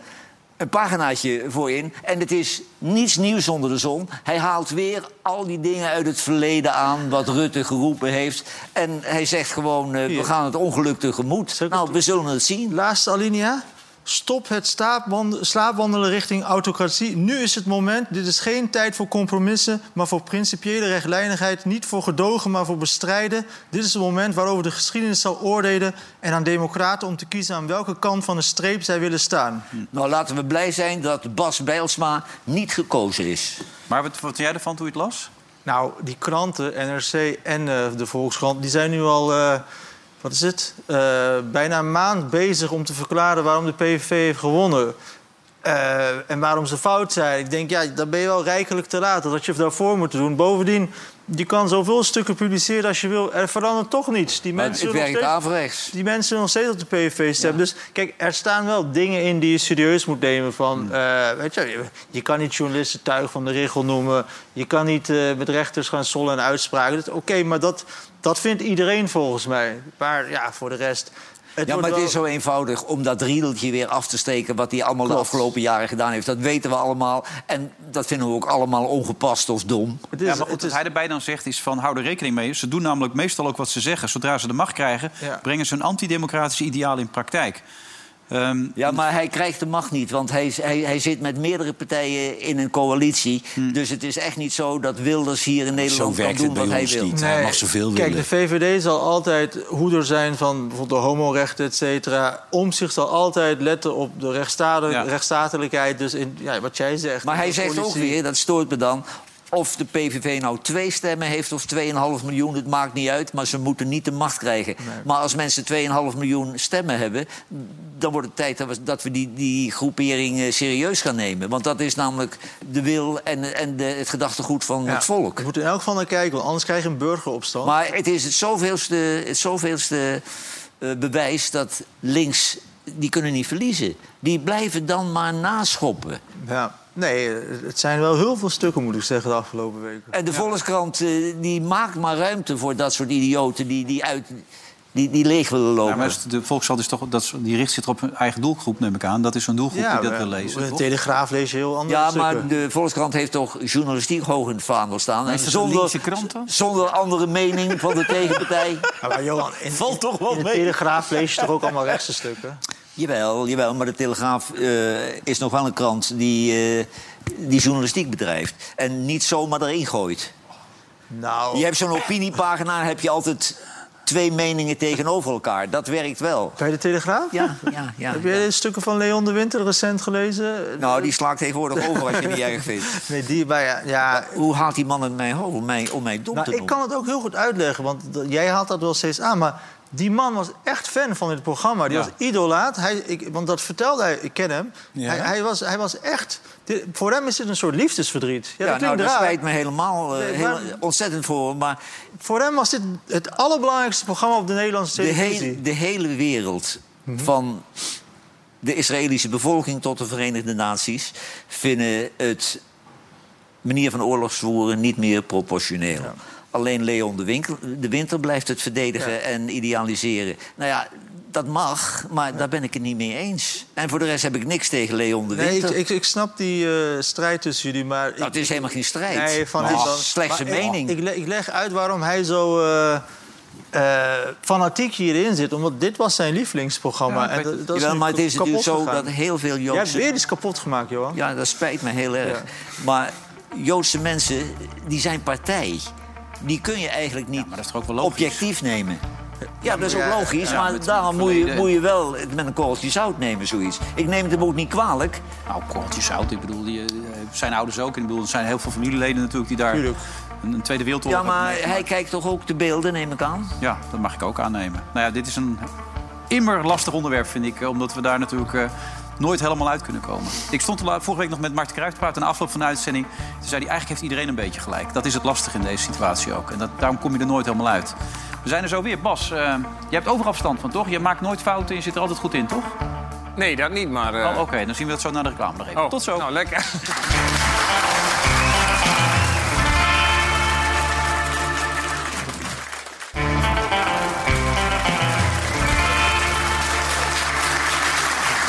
Speaker 5: een paginaatje voor in. En het is niets nieuws onder de zon. Hij haalt weer al die dingen uit het verleden aan... wat Rutte geroepen heeft. En hij zegt gewoon, eh, we gaan het ongeluk tegemoet. Nou, we zullen het zien.
Speaker 4: Laatste alinea. Stop het staapwand- slaapwandelen richting autocratie. Nu is het moment. Dit is geen tijd voor compromissen, maar voor principiële rechtlijnigheid. Niet voor gedogen, maar voor bestrijden. Dit is het moment waarover de geschiedenis zal oordelen... en aan democraten om te kiezen aan welke kant van de streep zij willen staan.
Speaker 5: Nou, laten we blij zijn dat Bas Bijlsma niet gekozen is.
Speaker 1: Maar wat wat vond jij ervan toen je het las?
Speaker 4: Nou, die kranten, NRC en eh, de Volkskrant, die zijn nu al, eh, wat is het, Eh, bijna een maand bezig om te verklaren waarom de PVV heeft gewonnen. Eh, en waarom ze fout zijn. Ik denk, ja, dan ben je wel rijkelijk te laat. Dat had je daarvoor moeten doen. Bovendien, je kan zoveel stukken publiceren als je wil. Er verandert toch niets. Die
Speaker 5: Maar
Speaker 4: mensen
Speaker 5: het
Speaker 4: nog
Speaker 5: werkt
Speaker 4: steeds
Speaker 5: averechts.
Speaker 4: die mensen nog steeds op de PVV stemmen. Dus kijk, er staan wel dingen in die je serieus moet nemen. Van, eh, weet je, je- je kan niet journalisten tuig van de regel noemen. Je kan niet eh, met rechters gaan sollen en uitspraken. Dat- Oké, maar dat, dat vindt iedereen volgens mij. Maar ja, voor de rest... Het
Speaker 5: Ja, maar
Speaker 4: wordt
Speaker 5: het
Speaker 4: wel-
Speaker 5: is zo eenvoudig om dat riedeltje weer af te steken... wat hij allemaal de afgelopen jaren gedaan heeft. Dat weten we allemaal. En dat vinden we ook allemaal ongepast of dom.
Speaker 4: het is,
Speaker 1: Ja, maar goed,
Speaker 4: het
Speaker 1: wat
Speaker 4: is-
Speaker 1: hij erbij dan zegt is van hou er rekening mee. Ze doen namelijk meestal ook wat ze zeggen. Zodra ze de macht krijgen,
Speaker 4: Ja.
Speaker 1: brengen ze hun antidemocratische idealen in praktijk. Ehm,
Speaker 5: Ja, maar hij krijgt de macht niet. Want hij, is- hij, hij zit met meerdere partijen in een coalitie. Dus het is echt niet zo dat Wilders hier in
Speaker 10: Zo
Speaker 5: Nederland kan
Speaker 10: werkt het
Speaker 5: doen
Speaker 10: bij
Speaker 5: wat hij
Speaker 10: ons
Speaker 5: wil.
Speaker 10: niet. Hij mag zoveel
Speaker 4: Kijk,
Speaker 10: willen.
Speaker 4: de VVD zal altijd hoeder zijn van bijvoorbeeld de homorechten, et cetera. Omzicht zal altijd letten op de rechtsstaat-
Speaker 1: Ja.
Speaker 4: rechtsstatelijkheid. Dus in, ja, wat jij zegt.
Speaker 5: Maar hij
Speaker 4: de
Speaker 5: zegt ook
Speaker 4: politie.
Speaker 5: weer, dat stoort me dan... of de PVV nou twee stemmen heeft of 2,5 miljoen... het maakt niet uit, maar ze moeten niet de macht krijgen. Maar als mensen 2,5 miljoen stemmen hebben... dan wordt het tijd dat we, dat we die, die groepering eh, serieus gaan nemen. Want dat is namelijk de wil en, en de, het gedachtegoed van het volk.
Speaker 4: Je moet in elk geval naar kijken, want anders krijg je een burgeropstand.
Speaker 5: Maar het is het zoveelste, het zoveelste eh, bewijs dat links die kunnen niet verliezen. Die blijven dan maar naschoppen.
Speaker 4: Ja. Nee, het zijn wel heel veel stukken, moet ik zeggen, de afgelopen weken.
Speaker 5: En de Volkskrant eh, die maakt maar ruimte voor dat soort idioten die, die, uit, die, die leeg willen
Speaker 1: Ja,
Speaker 5: lopen.
Speaker 1: maar is- de Volkskrant is dus toch, dat, is- die richt zich toch op een eigen doelgroep, neem ik aan. Dat is zo'n doelgroep
Speaker 4: Ja,
Speaker 1: die dat
Speaker 4: maar
Speaker 1: wil lezen.
Speaker 4: De
Speaker 1: toch?
Speaker 4: Telegraaf lees je heel anders.
Speaker 5: Ja, maar de Volkskrant heeft toch journalistiek hoog in het vaandel staan. En
Speaker 1: is dat een linkse krant dan?
Speaker 5: zonder andere mening van de tegenpartij.
Speaker 4: maar Johan, in,
Speaker 10: Valt toch wel
Speaker 4: in de
Speaker 10: mee.
Speaker 4: Telegraaf lees je toch ook allemaal rechtse stukken?
Speaker 5: Jawel, jawel, maar de Telegraaf eh, is nog wel een krant die, eh, die journalistiek bedrijft. En niet zomaar erin gooit.
Speaker 4: Nou,
Speaker 5: Je hebt zo'n opiniepagina, heb je altijd twee meningen tegenover elkaar. Dat werkt wel.
Speaker 4: bij de Telegraaf?
Speaker 5: Ja, ja, ja.
Speaker 4: Heb jij de stukken van Leon de Winter recent gelezen?
Speaker 5: Nou, die slaakt tegenwoordig over als je die erg vindt.
Speaker 4: Nee, die bij... Ja, ja.
Speaker 5: Hoe haalt die man het mij hoofd om mij, om mij dom te
Speaker 4: Nou,
Speaker 5: doen?
Speaker 4: ik kan het ook heel goed uitleggen, want d- jij haalt dat wel steeds aan. Maar die man was echt fan van dit programma. Die
Speaker 1: Ja.
Speaker 4: was idolaat. Hij, ik, want dat vertelde hij, ik ken hem. Hij, hij, was, hij was echt... dit- voor hem is dit een soort liefdesverdriet. Ja,
Speaker 5: ja,
Speaker 4: dat
Speaker 5: nou,
Speaker 4: klinkt
Speaker 5: dat
Speaker 4: raar.
Speaker 5: spijt me helemaal eh,
Speaker 4: Nee,
Speaker 5: heel-
Speaker 4: maar-
Speaker 5: ontzettend voor. hem, Maar
Speaker 4: Voor hem was dit het allerbelangrijkste programma op de Nederlandse
Speaker 5: de,
Speaker 4: televisie.
Speaker 5: hele- de hele wereld
Speaker 4: Mhm.
Speaker 5: van de Israëlische bevolking tot de Verenigde Naties vinden het manier van oorlogsvoeren niet meer proportioneel. Alleen Leon de, Winkel, de Winter blijft het verdedigen en idealiseren. Nou ja, dat mag, maar daar ben ik het niet mee eens. En voor de rest heb ik niks tegen Leon de
Speaker 4: Nee, ik,
Speaker 5: Winter.
Speaker 4: ik, ik snap die eh, strijd tussen jullie, maar... ik-
Speaker 5: dat is helemaal geen strijd.
Speaker 4: Nee, van
Speaker 5: het
Speaker 4: hem
Speaker 5: is
Speaker 4: dan.
Speaker 5: slechts een
Speaker 4: Maar ik-
Speaker 5: mening.
Speaker 4: Ik, le- ik leg uit waarom hij zo eh, eh, fanatiek hierin zit. Omdat dit was zijn lievelingsprogramma.
Speaker 1: Ja, ik
Speaker 4: en
Speaker 1: weet
Speaker 4: dat, dat is
Speaker 5: Jawel,
Speaker 4: nu
Speaker 5: maar het is
Speaker 4: kapot
Speaker 5: natuurlijk zo
Speaker 4: gegaan.
Speaker 5: dat heel veel
Speaker 4: Jij hebt
Speaker 5: Joodse...
Speaker 4: weer iets kapot gemaakt, Johan.
Speaker 5: Ja, dat spijt me heel erg. Maar Joodse mensen, die zijn partij. Die kun je eigenlijk niet
Speaker 1: dat is toch ook wel logisch?
Speaker 5: objectief nemen. Ja, dat is ook
Speaker 4: ja,
Speaker 5: logisch,
Speaker 1: ja,
Speaker 5: maar
Speaker 1: met
Speaker 5: daarom
Speaker 1: het
Speaker 5: moet je,
Speaker 1: verleden.
Speaker 5: moet je wel het met een korreltje zout nemen, zoiets. Ik neem het hem ook niet kwalijk.
Speaker 1: Nou, korreltje zout. Ik bedoel, die, eh, zijn ouders ook. En ik bedoel, er zijn heel veel familieleden natuurlijk die daar
Speaker 4: Tuurlijk.
Speaker 1: een, een Tweede Wereldoorlog
Speaker 5: Ja, maar
Speaker 1: hebben
Speaker 5: hij kijkt toch ook de beelden, neem ik aan?
Speaker 1: Ja, dat mag ik ook aannemen. Nou ja, dit is een immer lastig onderwerp, vind ik. eh, Omdat we daar natuurlijk eh, nooit helemaal uit kunnen komen. Ik stond er la- vorige week nog met Marten Kruijf te praten... na afloop van de uitzending. Toen zei hij, eigenlijk heeft iedereen een beetje gelijk. Dat is het lastig in deze situatie ook. En dat, daarom kom je er nooit helemaal uit. We zijn er zo weer. Bas, eh je hebt overal verstand van, toch? Je maakt nooit fouten en je zit er altijd goed in, toch?
Speaker 2: Nee, dat niet, maar... eh,
Speaker 1: Oh, Oké, dan zien we dat zo naar de reclame nog even.
Speaker 2: oh,
Speaker 1: Tot zo.
Speaker 2: Nou, lekker.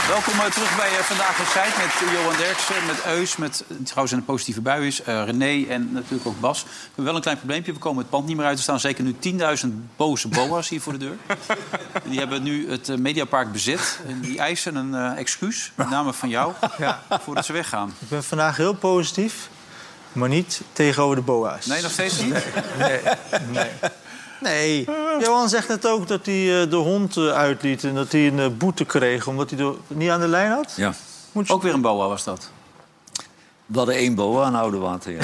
Speaker 1: Welkom eh, terug bij eh, Vandaag op Zijt met Johan Derksen, met Eus, met eh, trouwens een positieve bui is, eh, René en natuurlijk ook Bas. We hebben wel een klein probleempje, we komen het pand niet meer uit te staan. Zeker nu 10.000 boze boa's hier voor de deur. En die hebben nu het eh, Mediapark bezet en die eisen een eh, excuus, met name van jou, voordat ze weggaan.
Speaker 4: Ik ben vandaag heel positief, maar niet tegenover de boa's.
Speaker 1: Nee, nog steeds niet?
Speaker 4: Nee. Johan zegt net ook dat hij eh, de hond eh, uitliet... en dat hij een eh, boete kreeg omdat hij de, niet aan de lijn had.
Speaker 5: Ja.
Speaker 1: Ook weer een boa was dat.
Speaker 5: We hadden één boa aan Oude Water, ja.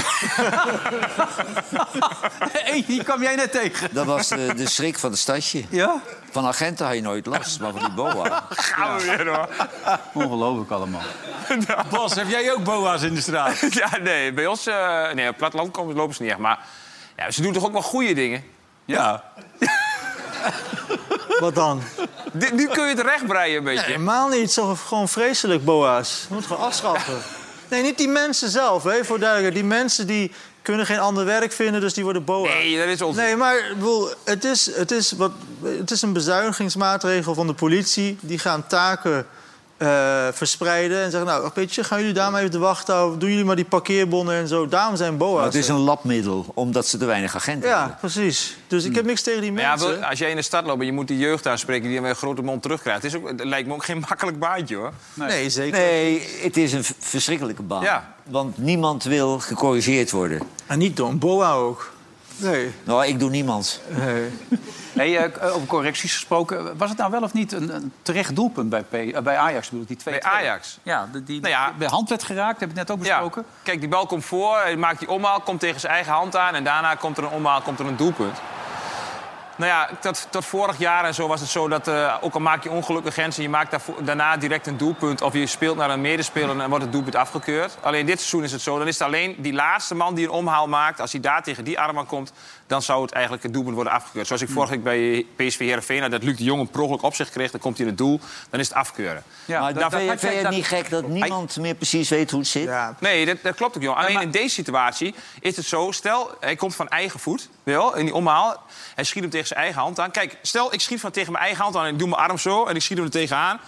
Speaker 1: Eentje, die kwam jij net tegen.
Speaker 5: Dat was de, de schrik van het stadje.
Speaker 1: Ja?
Speaker 5: Van agenten had je nooit last, maar van die boa...
Speaker 2: Gaan we weer, hoor. Nou.
Speaker 1: Ongelooflijk allemaal.
Speaker 3: Bas, heb jij ook boa's in de straat?
Speaker 2: ja, nee, bij ons... eh, nee, op het platteland komen, lopen ze niet echt, maar... Ja, ze doen toch ook wel goede dingen?
Speaker 1: Ja.
Speaker 4: Wat dan?
Speaker 2: Dit- nu kun je het recht breien een beetje.
Speaker 4: Helemaal niet. Zo, gewoon vreselijk, boa's. Je moet gewoon afschaffen. Nee, niet die mensen zelf, hè, voor duidelijkheid. Die mensen die kunnen geen ander werk vinden, dus die worden boa's.
Speaker 2: Nee, dat is ons.
Speaker 4: Nee, maar ik bedoel, het, is, het, is wat, het is een bezuinigingsmaatregel van de politie. Die gaan taken eh, verspreiden en zeggen... nou, weet je, gaan jullie daar maar even de wacht houden. Doen jullie maar die parkeerbonnen en zo. Daarom zijn boa's.
Speaker 5: Maar het is een labmiddel, omdat ze te weinig agenten hebben.
Speaker 4: Ja, precies. Dus ik heb niks tegen die
Speaker 2: Maar Nou ja,
Speaker 4: mensen.
Speaker 2: wel, als jij in de stad loopt en je moet die jeugd aanspreken... die een grote mond terugkrijgt, het is ook, het lijkt me ook geen makkelijk baantje, hoor.
Speaker 4: Nee, zeker.
Speaker 5: Nee, het is een v- verschrikkelijke baan.
Speaker 2: Ja.
Speaker 5: Want niemand wil gecorrigeerd worden.
Speaker 4: En niet door een boa ook. Nee.
Speaker 5: Nou, ik doe niemand.
Speaker 4: nee.
Speaker 1: Hey, eh, k- over correcties gesproken, was het nou wel of niet een, een terecht doelpunt bij, P- eh, bij Ajax? Bedoel ik, die 2-2?
Speaker 2: Bij Ajax.
Speaker 1: Ja, de- die
Speaker 2: Nou ja.
Speaker 1: bij hand werd geraakt, heb ik net ook
Speaker 2: Ja,
Speaker 1: besproken.
Speaker 2: kijk, die bal komt voor, hij maakt die omhaal, komt tegen zijn eigen hand aan... en daarna komt er een omhaal, komt er een doelpunt. Nou ja, dat, dat vorig jaar en zo was het zo dat eh, ook al maak je ongelukkig grens en je maakt daarvoor- daarna direct een doelpunt. Of je speelt naar een medespeler en dan wordt het doelpunt afgekeurd. Alleen dit seizoen is het zo. Dan is het alleen die laatste man die een omhaal maakt. Als hij daar tegen die arm aan komt, dan zou het eigenlijk het doelpunt worden afgekeurd. Zoals ik vorige week bij PSV Heerenveen had, dat Luc de Jong een per ongeluk op zich kreeg. Dan komt hij in het doel, dan is het afkeuren.
Speaker 5: maar
Speaker 2: dat-
Speaker 5: dat,
Speaker 2: dat
Speaker 5: vind je,
Speaker 2: had jij-
Speaker 5: vind je het
Speaker 2: dat-
Speaker 5: niet gek dat niemand meer precies weet hoe het zit? Eh,
Speaker 2: Nee, dat, dat klopt ook, joh. Alleen in deze situatie is het zo... stel, hij komt van eigen voet, wel, in die omhaal. Hij schiet hem tegen zijn eigen hand aan. Kijk, stel, ik schiet van tegen mijn eigen hand aan... en ik doe mijn arm zo en ik schiet hem er tegenaan.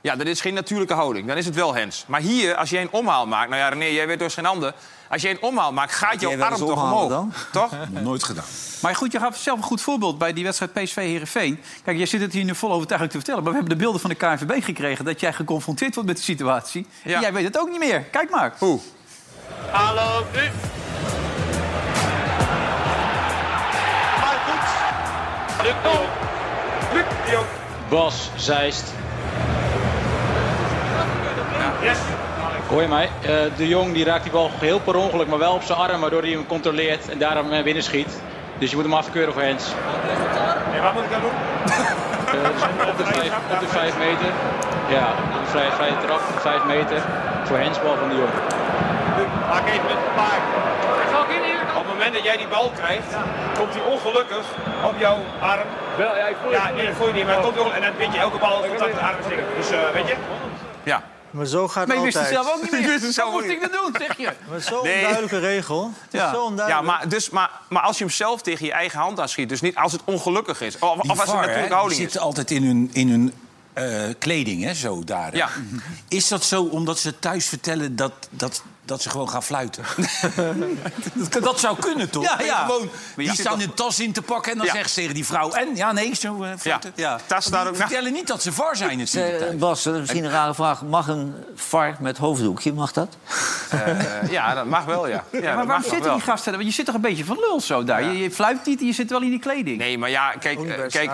Speaker 2: Ja, dat is geen natuurlijke houding. Dan is het wel hands. Maar hier, als jij een omhaal maakt... Nou ja, René, jij weet door geen ander. Als jij een omhaal maakt, gaat jouw
Speaker 5: jij wel
Speaker 2: arm
Speaker 5: eens
Speaker 2: toch
Speaker 5: omhalen
Speaker 2: omhoog.
Speaker 5: dan?
Speaker 2: Toch?
Speaker 6: Nooit gedaan.
Speaker 1: Maar goed, je gaf zelf een goed voorbeeld bij die wedstrijd PSV Herenveen. Kijk, jij zit het hier nu vol overtuiging te vertellen. Maar we hebben de beelden van de KNVB gekregen dat jij geconfronteerd wordt met de situatie. En jij weet het ook niet meer. Kijk maar.
Speaker 2: Oeh.
Speaker 11: Hallo, nu. Maar goed. Luc de Jong. Luc de Jong.
Speaker 12: Bas Zeist.
Speaker 11: Yes.
Speaker 12: Hoor je mij? Eh, de Jong die raakt die bal heel per ongeluk, maar wel op zijn arm, waardoor hij hem controleert en daarom eh, binnen schiet. Dus je moet hem afkeuren voor Hens.
Speaker 11: En wat moet ik dan doen?
Speaker 12: Eh, op, de vijf, op de vijf meter. Ja, een vrije, vrije trap, op de vijf meter. Voor Hensbal van de Jong.
Speaker 11: Maak even met een paar. Op het moment dat jij die bal krijgt, komt hij ongelukkig op jouw arm. Wel, ja, ik voel ja, nee, dat voel je niet, maar het komt wel. En dan weet je, elke bal contact de arm zingen. Dus eh, weet je?
Speaker 2: Ja.
Speaker 4: Maar zo gaat het
Speaker 1: Maar je wist het
Speaker 4: altijd.
Speaker 1: zelf ook niet meer.
Speaker 4: Ik wist het zelf
Speaker 1: Hoe moest
Speaker 4: ook
Speaker 1: ik dat doen, zeg je?
Speaker 4: Maar zo'n
Speaker 2: Nee.
Speaker 4: onduidelijke regel. Het is zo
Speaker 2: ja
Speaker 4: onduidelijk.
Speaker 2: maar, dus, maar, maar als je hem zelf tegen je eigen hand aanschiet... dus niet als het ongelukkig is, of,
Speaker 6: Die
Speaker 2: of als het
Speaker 6: VAR, hè,
Speaker 2: natuurlijk
Speaker 6: die
Speaker 2: houding is.
Speaker 6: zitten altijd in hun, in hun eh, kleding, hè, zo daar. hè.
Speaker 2: Ja.
Speaker 6: Is dat zo omdat ze thuis vertellen dat, dat, dat ze gewoon gaan fluiten? dat, dat zou kunnen, toch?
Speaker 10: Ja,
Speaker 6: Dat je
Speaker 10: ja.
Speaker 6: Gewoon,
Speaker 10: Maar
Speaker 6: die
Speaker 10: ja,
Speaker 6: staan
Speaker 10: toch-
Speaker 6: hun tas in te pakken en dan
Speaker 10: Ja.
Speaker 6: zegt ze tegen die vrouw... en ja, nee, zo eh, fluiten.
Speaker 2: Ja, tas
Speaker 6: daar ook vertellen niet dat ze var zijn het
Speaker 5: Eh, Bas, dat is misschien een rare vraag. Mag een vark met hoofddoekje, mag dat?
Speaker 2: Eh, ja, dat mag wel, ja. ja dat
Speaker 1: maar
Speaker 2: mag
Speaker 1: waarom zitten
Speaker 2: wel.
Speaker 1: die gasten? daar? Want je zit toch een beetje van lul zo daar? Je, je fluit niet, je zit wel in die kleding.
Speaker 2: Nee, maar ja, kijk... eh, kijk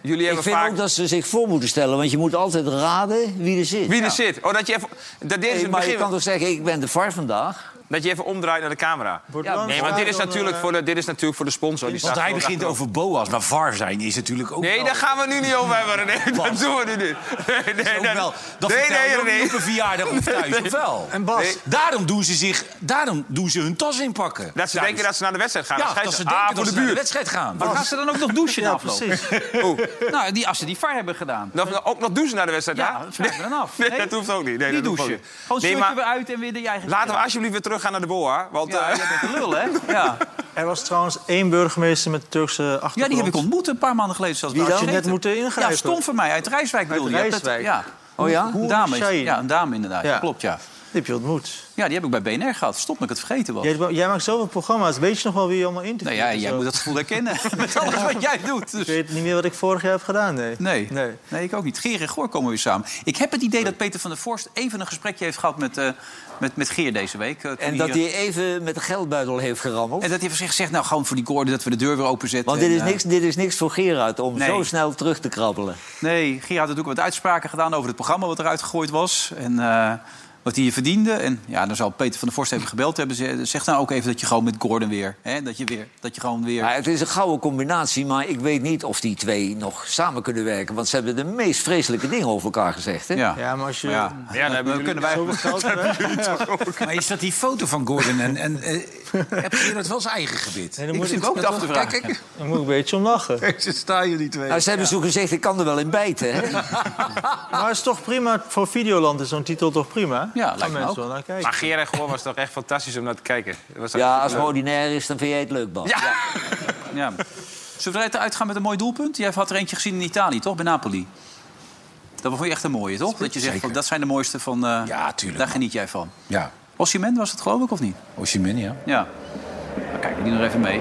Speaker 2: jullie
Speaker 5: Ik
Speaker 2: hebben
Speaker 5: vind
Speaker 2: vaak...
Speaker 5: ook dat ze zich voor moeten stellen, want je moet altijd raden wie er zit.
Speaker 2: Wie er
Speaker 5: Ja.
Speaker 2: zit. Oh, dat je even... Dat dit is
Speaker 5: Hey,
Speaker 2: het
Speaker 5: maar je
Speaker 2: begin.
Speaker 5: kan toch zeggen, ik ben de VAR vandaag?
Speaker 2: Dat je even omdraait naar de camera.
Speaker 5: Ja,
Speaker 2: nee, want dit is,
Speaker 4: eh,
Speaker 2: natuurlijk voor de, dit is natuurlijk voor de sponsor. Die
Speaker 6: Want
Speaker 2: staat
Speaker 6: hij
Speaker 2: gewoon
Speaker 6: begint
Speaker 2: achterop.
Speaker 6: over Boas, maar var zijn is natuurlijk ook
Speaker 2: Nee,
Speaker 6: wel-
Speaker 2: daar gaan we nu niet over hebben, René. Dat doen we nu niet. Nee, nee,
Speaker 6: Ook wel. Dat
Speaker 2: nee,
Speaker 6: vertel je
Speaker 2: nee,
Speaker 6: ook
Speaker 2: René.
Speaker 6: niet op een verjaardag of thuis,
Speaker 2: Nee.
Speaker 6: of wel?
Speaker 2: En Bas? Nee.
Speaker 6: Daarom, doen ze zich, daarom doen ze hun tas inpakken.
Speaker 2: Dat ze
Speaker 6: Thuis.
Speaker 2: denken dat ze naar de wedstrijd gaan.
Speaker 6: dus- Ja,
Speaker 2: Dan schijt ze,
Speaker 6: dat ze denken
Speaker 2: ah,
Speaker 6: dat
Speaker 2: voor de
Speaker 6: ze naar de
Speaker 2: buurt.
Speaker 6: wedstrijd gaan.
Speaker 1: Maar gaan ze dan ook nog douchen
Speaker 2: Ja,
Speaker 1: na afloop? Nou, die, als ze die VAR hebben gedaan.
Speaker 2: Dat we ook nog douchen naar de wedstrijd
Speaker 1: Ja,
Speaker 2: gaan?
Speaker 1: dat schrijven we dan af.
Speaker 2: Nee,
Speaker 1: Nee.
Speaker 2: dat hoeft ook niet. Nee,
Speaker 1: die
Speaker 2: dat hoeft
Speaker 1: douchen.
Speaker 2: ook niet.
Speaker 1: Gewoon
Speaker 2: Nee,
Speaker 1: nee,
Speaker 2: maar
Speaker 1: weer uit en weer de je eigen...
Speaker 2: laten we alsjeblieft weer teruggaan naar de boa. Want,
Speaker 1: Ja,
Speaker 2: eh,
Speaker 1: jij bent een lul, hè? Ja.
Speaker 4: Er was trouwens één burgemeester met Turkse achtergrond.
Speaker 1: Ja, die heb ik ontmoet een paar maanden geleden. Zelfs
Speaker 4: Wie
Speaker 1: bij
Speaker 4: dan?
Speaker 1: Argenten.
Speaker 4: Had je net moeten ingrijpen.
Speaker 1: Ja, stom van mij. Uit Rijswijk bedoel je. Je hebt het-
Speaker 4: Rijswijk.
Speaker 1: Ja.
Speaker 4: Oh ja?
Speaker 1: Een dame, is-
Speaker 4: Shahin.
Speaker 1: ja, een dame inderdaad.
Speaker 4: Ja.
Speaker 1: Klopt, ja.
Speaker 4: Die heb je ontmoet.
Speaker 1: Ja, die heb ik bij BNR gehad. Stop me, ik het vergeten was.
Speaker 4: Jij, jij maakt zoveel programma's. Weet je nog wel wie je allemaal
Speaker 1: Nee,
Speaker 4: interviewt?
Speaker 1: Oh. Nou ja,
Speaker 4: en
Speaker 1: jij
Speaker 4: zo?
Speaker 1: moet dat gevoel herkennen. Met alles wat jij doet. Dus.
Speaker 4: Ik weet niet meer wat ik vorig jaar heb gedaan, nee.
Speaker 1: Nee. nee. ik ook niet. Geer en Goor komen weer samen. Ik heb het idee dat Peter van der Vorst even een gesprekje heeft gehad met, eh, met, met Geer deze week. eh, toen
Speaker 5: En dat
Speaker 1: eh,
Speaker 5: hij even met de geldbuidel heeft gerammeld.
Speaker 1: en dat hij van zich zegt, nou gewoon voor die koorden dat we de deur weer openzetten.
Speaker 5: Want dit is,
Speaker 1: En, eh,
Speaker 5: niks, dit is niks voor Gerard om
Speaker 1: Nee.
Speaker 5: zo snel terug te krabbelen.
Speaker 1: Nee, Geer had natuurlijk wat uitspraken gedaan over het programma wat eruit gegooid was. En eh, wat hij je verdiende. En ja, dan zal Peter van der Vorst even gebeld hebben. Ze- Zeg nou ook even dat je gewoon met Gordon weer. Hè, dat, je weer dat je gewoon weer.
Speaker 5: Maar het is een gouden combinatie, maar ik weet niet of die twee nog samen kunnen werken. Want ze hebben de meest vreselijke dingen over elkaar gezegd. Hè?
Speaker 4: Ja, maar als je...
Speaker 1: Ja.
Speaker 2: Ja, dan
Speaker 1: Dan kunnen wij.
Speaker 6: Maar is dat die foto van Gordon en... en eh, heb je dat wel zijn eigen gebit?
Speaker 4: dan moet
Speaker 1: zit
Speaker 4: ik,
Speaker 1: me ook af te vragen.
Speaker 6: Kijk, kijk.
Speaker 4: dan moet ik een beetje om lachen.
Speaker 10: staan jullie twee.
Speaker 5: Nou, ze hebben zo gezegd, ik kan er wel in bijten. Hè?
Speaker 4: Maar het is toch prima, voor Videoland is zo'n titel toch prima?
Speaker 1: Ja,
Speaker 4: Gaan
Speaker 1: lijkt me
Speaker 4: mensen
Speaker 1: ook.
Speaker 4: wel naar kijken.
Speaker 2: Maar Geer en Goor was toch echt fantastisch om naar te kijken. Dat Was
Speaker 5: Ja, als het ordinair is, dan vind jij het leuk, Bas.
Speaker 2: Ja.
Speaker 1: Ja. Zullen we eruit gaan met een mooi doelpunt? Jij had er eentje gezien in Italië, toch? Bij Napoli. Dat vond je echt een mooie, toch? Dat je zegt, van,
Speaker 6: Zeker.
Speaker 1: dat zijn de mooiste van... eh,
Speaker 6: Ja, tuurlijk,
Speaker 1: Daar
Speaker 6: man.
Speaker 1: geniet jij van.
Speaker 6: Ja,
Speaker 1: Osimhen was het geloof ik, of niet?
Speaker 6: Osimhen, ja.
Speaker 1: Ja. Nou, kijk, die nog even mee.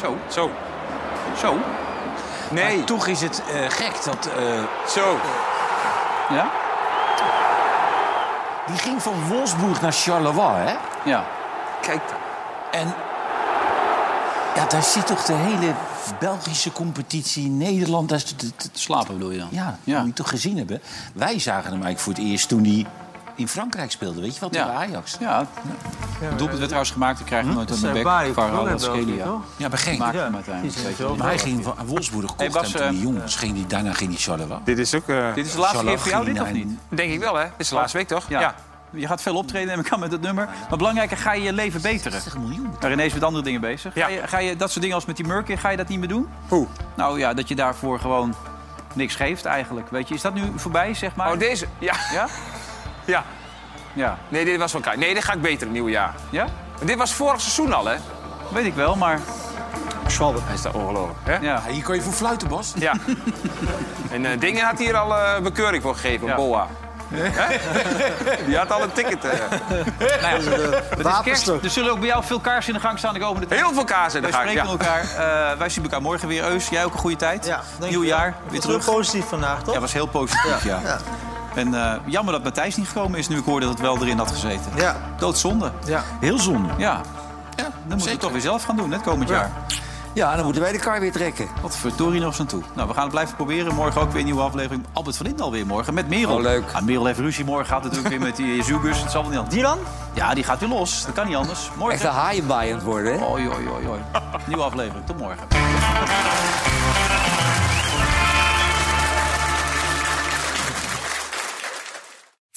Speaker 1: Zo,
Speaker 2: Zo,
Speaker 1: zo.
Speaker 2: nee,
Speaker 6: Maar toch is het eh, gek dat... eh,
Speaker 2: zo.
Speaker 1: Ja?
Speaker 6: die ging van Wolfsburg naar Charleroi, hè?
Speaker 1: Ja.
Speaker 2: Kijk,
Speaker 6: En ja, daar zit toch de hele Belgische competitie, Nederland... Daar is het- het- het-
Speaker 1: Slapen bedoel je dan?
Speaker 6: ja, dat
Speaker 1: Ja.
Speaker 6: moet je toch gezien hebben. Wij zagen hem eigenlijk voor het eerst toen hij
Speaker 10: in Frankrijk speelde. Weet je wat?
Speaker 1: Ja.
Speaker 10: Bij Ajax.
Speaker 1: Ja. Het doelpunt werd trouwens gemaakt. Ik krijg het nooit
Speaker 10: Dat
Speaker 1: aan mijn
Speaker 10: zei
Speaker 1: bek.
Speaker 10: Baye,
Speaker 1: Varane,
Speaker 10: België,
Speaker 1: Schelia.
Speaker 10: toch? Ja, maar geen-
Speaker 1: Maakte
Speaker 10: Ja,
Speaker 1: hem uiteindelijk.
Speaker 10: die
Speaker 1: Weet je
Speaker 10: zijn
Speaker 1: wel.
Speaker 10: Maar hij ging van Wolfsburg gekocht
Speaker 1: Hey, Bas,
Speaker 10: hebben toen
Speaker 1: eh,
Speaker 10: hij jong was. Ging die, daarna ging hij Charleroi.
Speaker 2: Dit is ook... eh,
Speaker 1: Dit is de laatste
Speaker 10: Charleroi
Speaker 1: keer voor jou,
Speaker 10: ging
Speaker 1: dit of
Speaker 10: naar-
Speaker 1: niet?
Speaker 2: Denk ik wel, hè? Dit is de laatste week, toch?
Speaker 1: Ja. Je gaat veel optreden, en ik kan met het nummer. Maar belangrijker, ga je je leven beteren. Maar ineens met andere dingen bezig. Ga, je, ga je dat soort dingen als met die Murkin, ga je dat niet meer doen? Hoe? Nou ja, dat je daarvoor gewoon niks geeft eigenlijk. Weet je, is dat nu voorbij, zeg maar?
Speaker 2: Oh, deze? Ja.
Speaker 1: Ja?
Speaker 2: Ja.
Speaker 1: Ja.
Speaker 2: Nee, dit was wel klein. Nee, dit ga ik beter het nieuwe jaar.
Speaker 1: Ja?
Speaker 2: Dit was vorig seizoen al, hè?
Speaker 1: Weet ik wel, maar...
Speaker 2: Schwalbe. Hij is daar ongelooflijk, hè?
Speaker 1: Ja.
Speaker 10: Hier kon je voor fluiten, Bas.
Speaker 2: Ja. en eh, Dingen had hier al eh, bekeuring voor gegeven, BOA. Hè? Die had al een ticket. eh.
Speaker 1: Nou ja, het is kerst, er zullen ook bij jou veel kaarsen in de gang staan de komende tijd.
Speaker 2: Heel veel kaas in de
Speaker 1: Wij
Speaker 2: gang,
Speaker 1: spreken
Speaker 2: ja.
Speaker 1: elkaar. eh, wij zien elkaar morgen weer. Eus, jij ook een goede tijd. Nieuw jaar, weer terug.
Speaker 4: positief vandaag, toch?
Speaker 1: Ja, was heel positief, ja. En eh, jammer dat Matthijs niet gekomen is nu ik hoorde dat het wel erin had gezeten.
Speaker 4: Ja.
Speaker 1: Doodzonde.
Speaker 4: Ja.
Speaker 5: Heel zonde.
Speaker 1: Ja. dan moet je het toch weer zelf gaan doen, hè, het komend jaar.
Speaker 5: Ja, dan moeten wij de kar weer trekken.
Speaker 1: Wat verdorie nog eens aan toe. Nou, we gaan het blijven proberen. Morgen ook weer een nieuwe aflevering. Albert van Indal weer morgen met Merel.
Speaker 5: Oh, leuk.
Speaker 1: Ah, Merel heeft ruzie. Morgen gaat het natuurlijk weer met die Zugus. Het zal wel niet anders.
Speaker 4: Die dan?
Speaker 1: Ja, die gaat weer los. Dat kan niet anders. Morgen.
Speaker 5: Echt een haaienbaai aan het worden, hè?
Speaker 1: Oi, oi, oi, oi. Nieuwe aflevering. Tot morgen.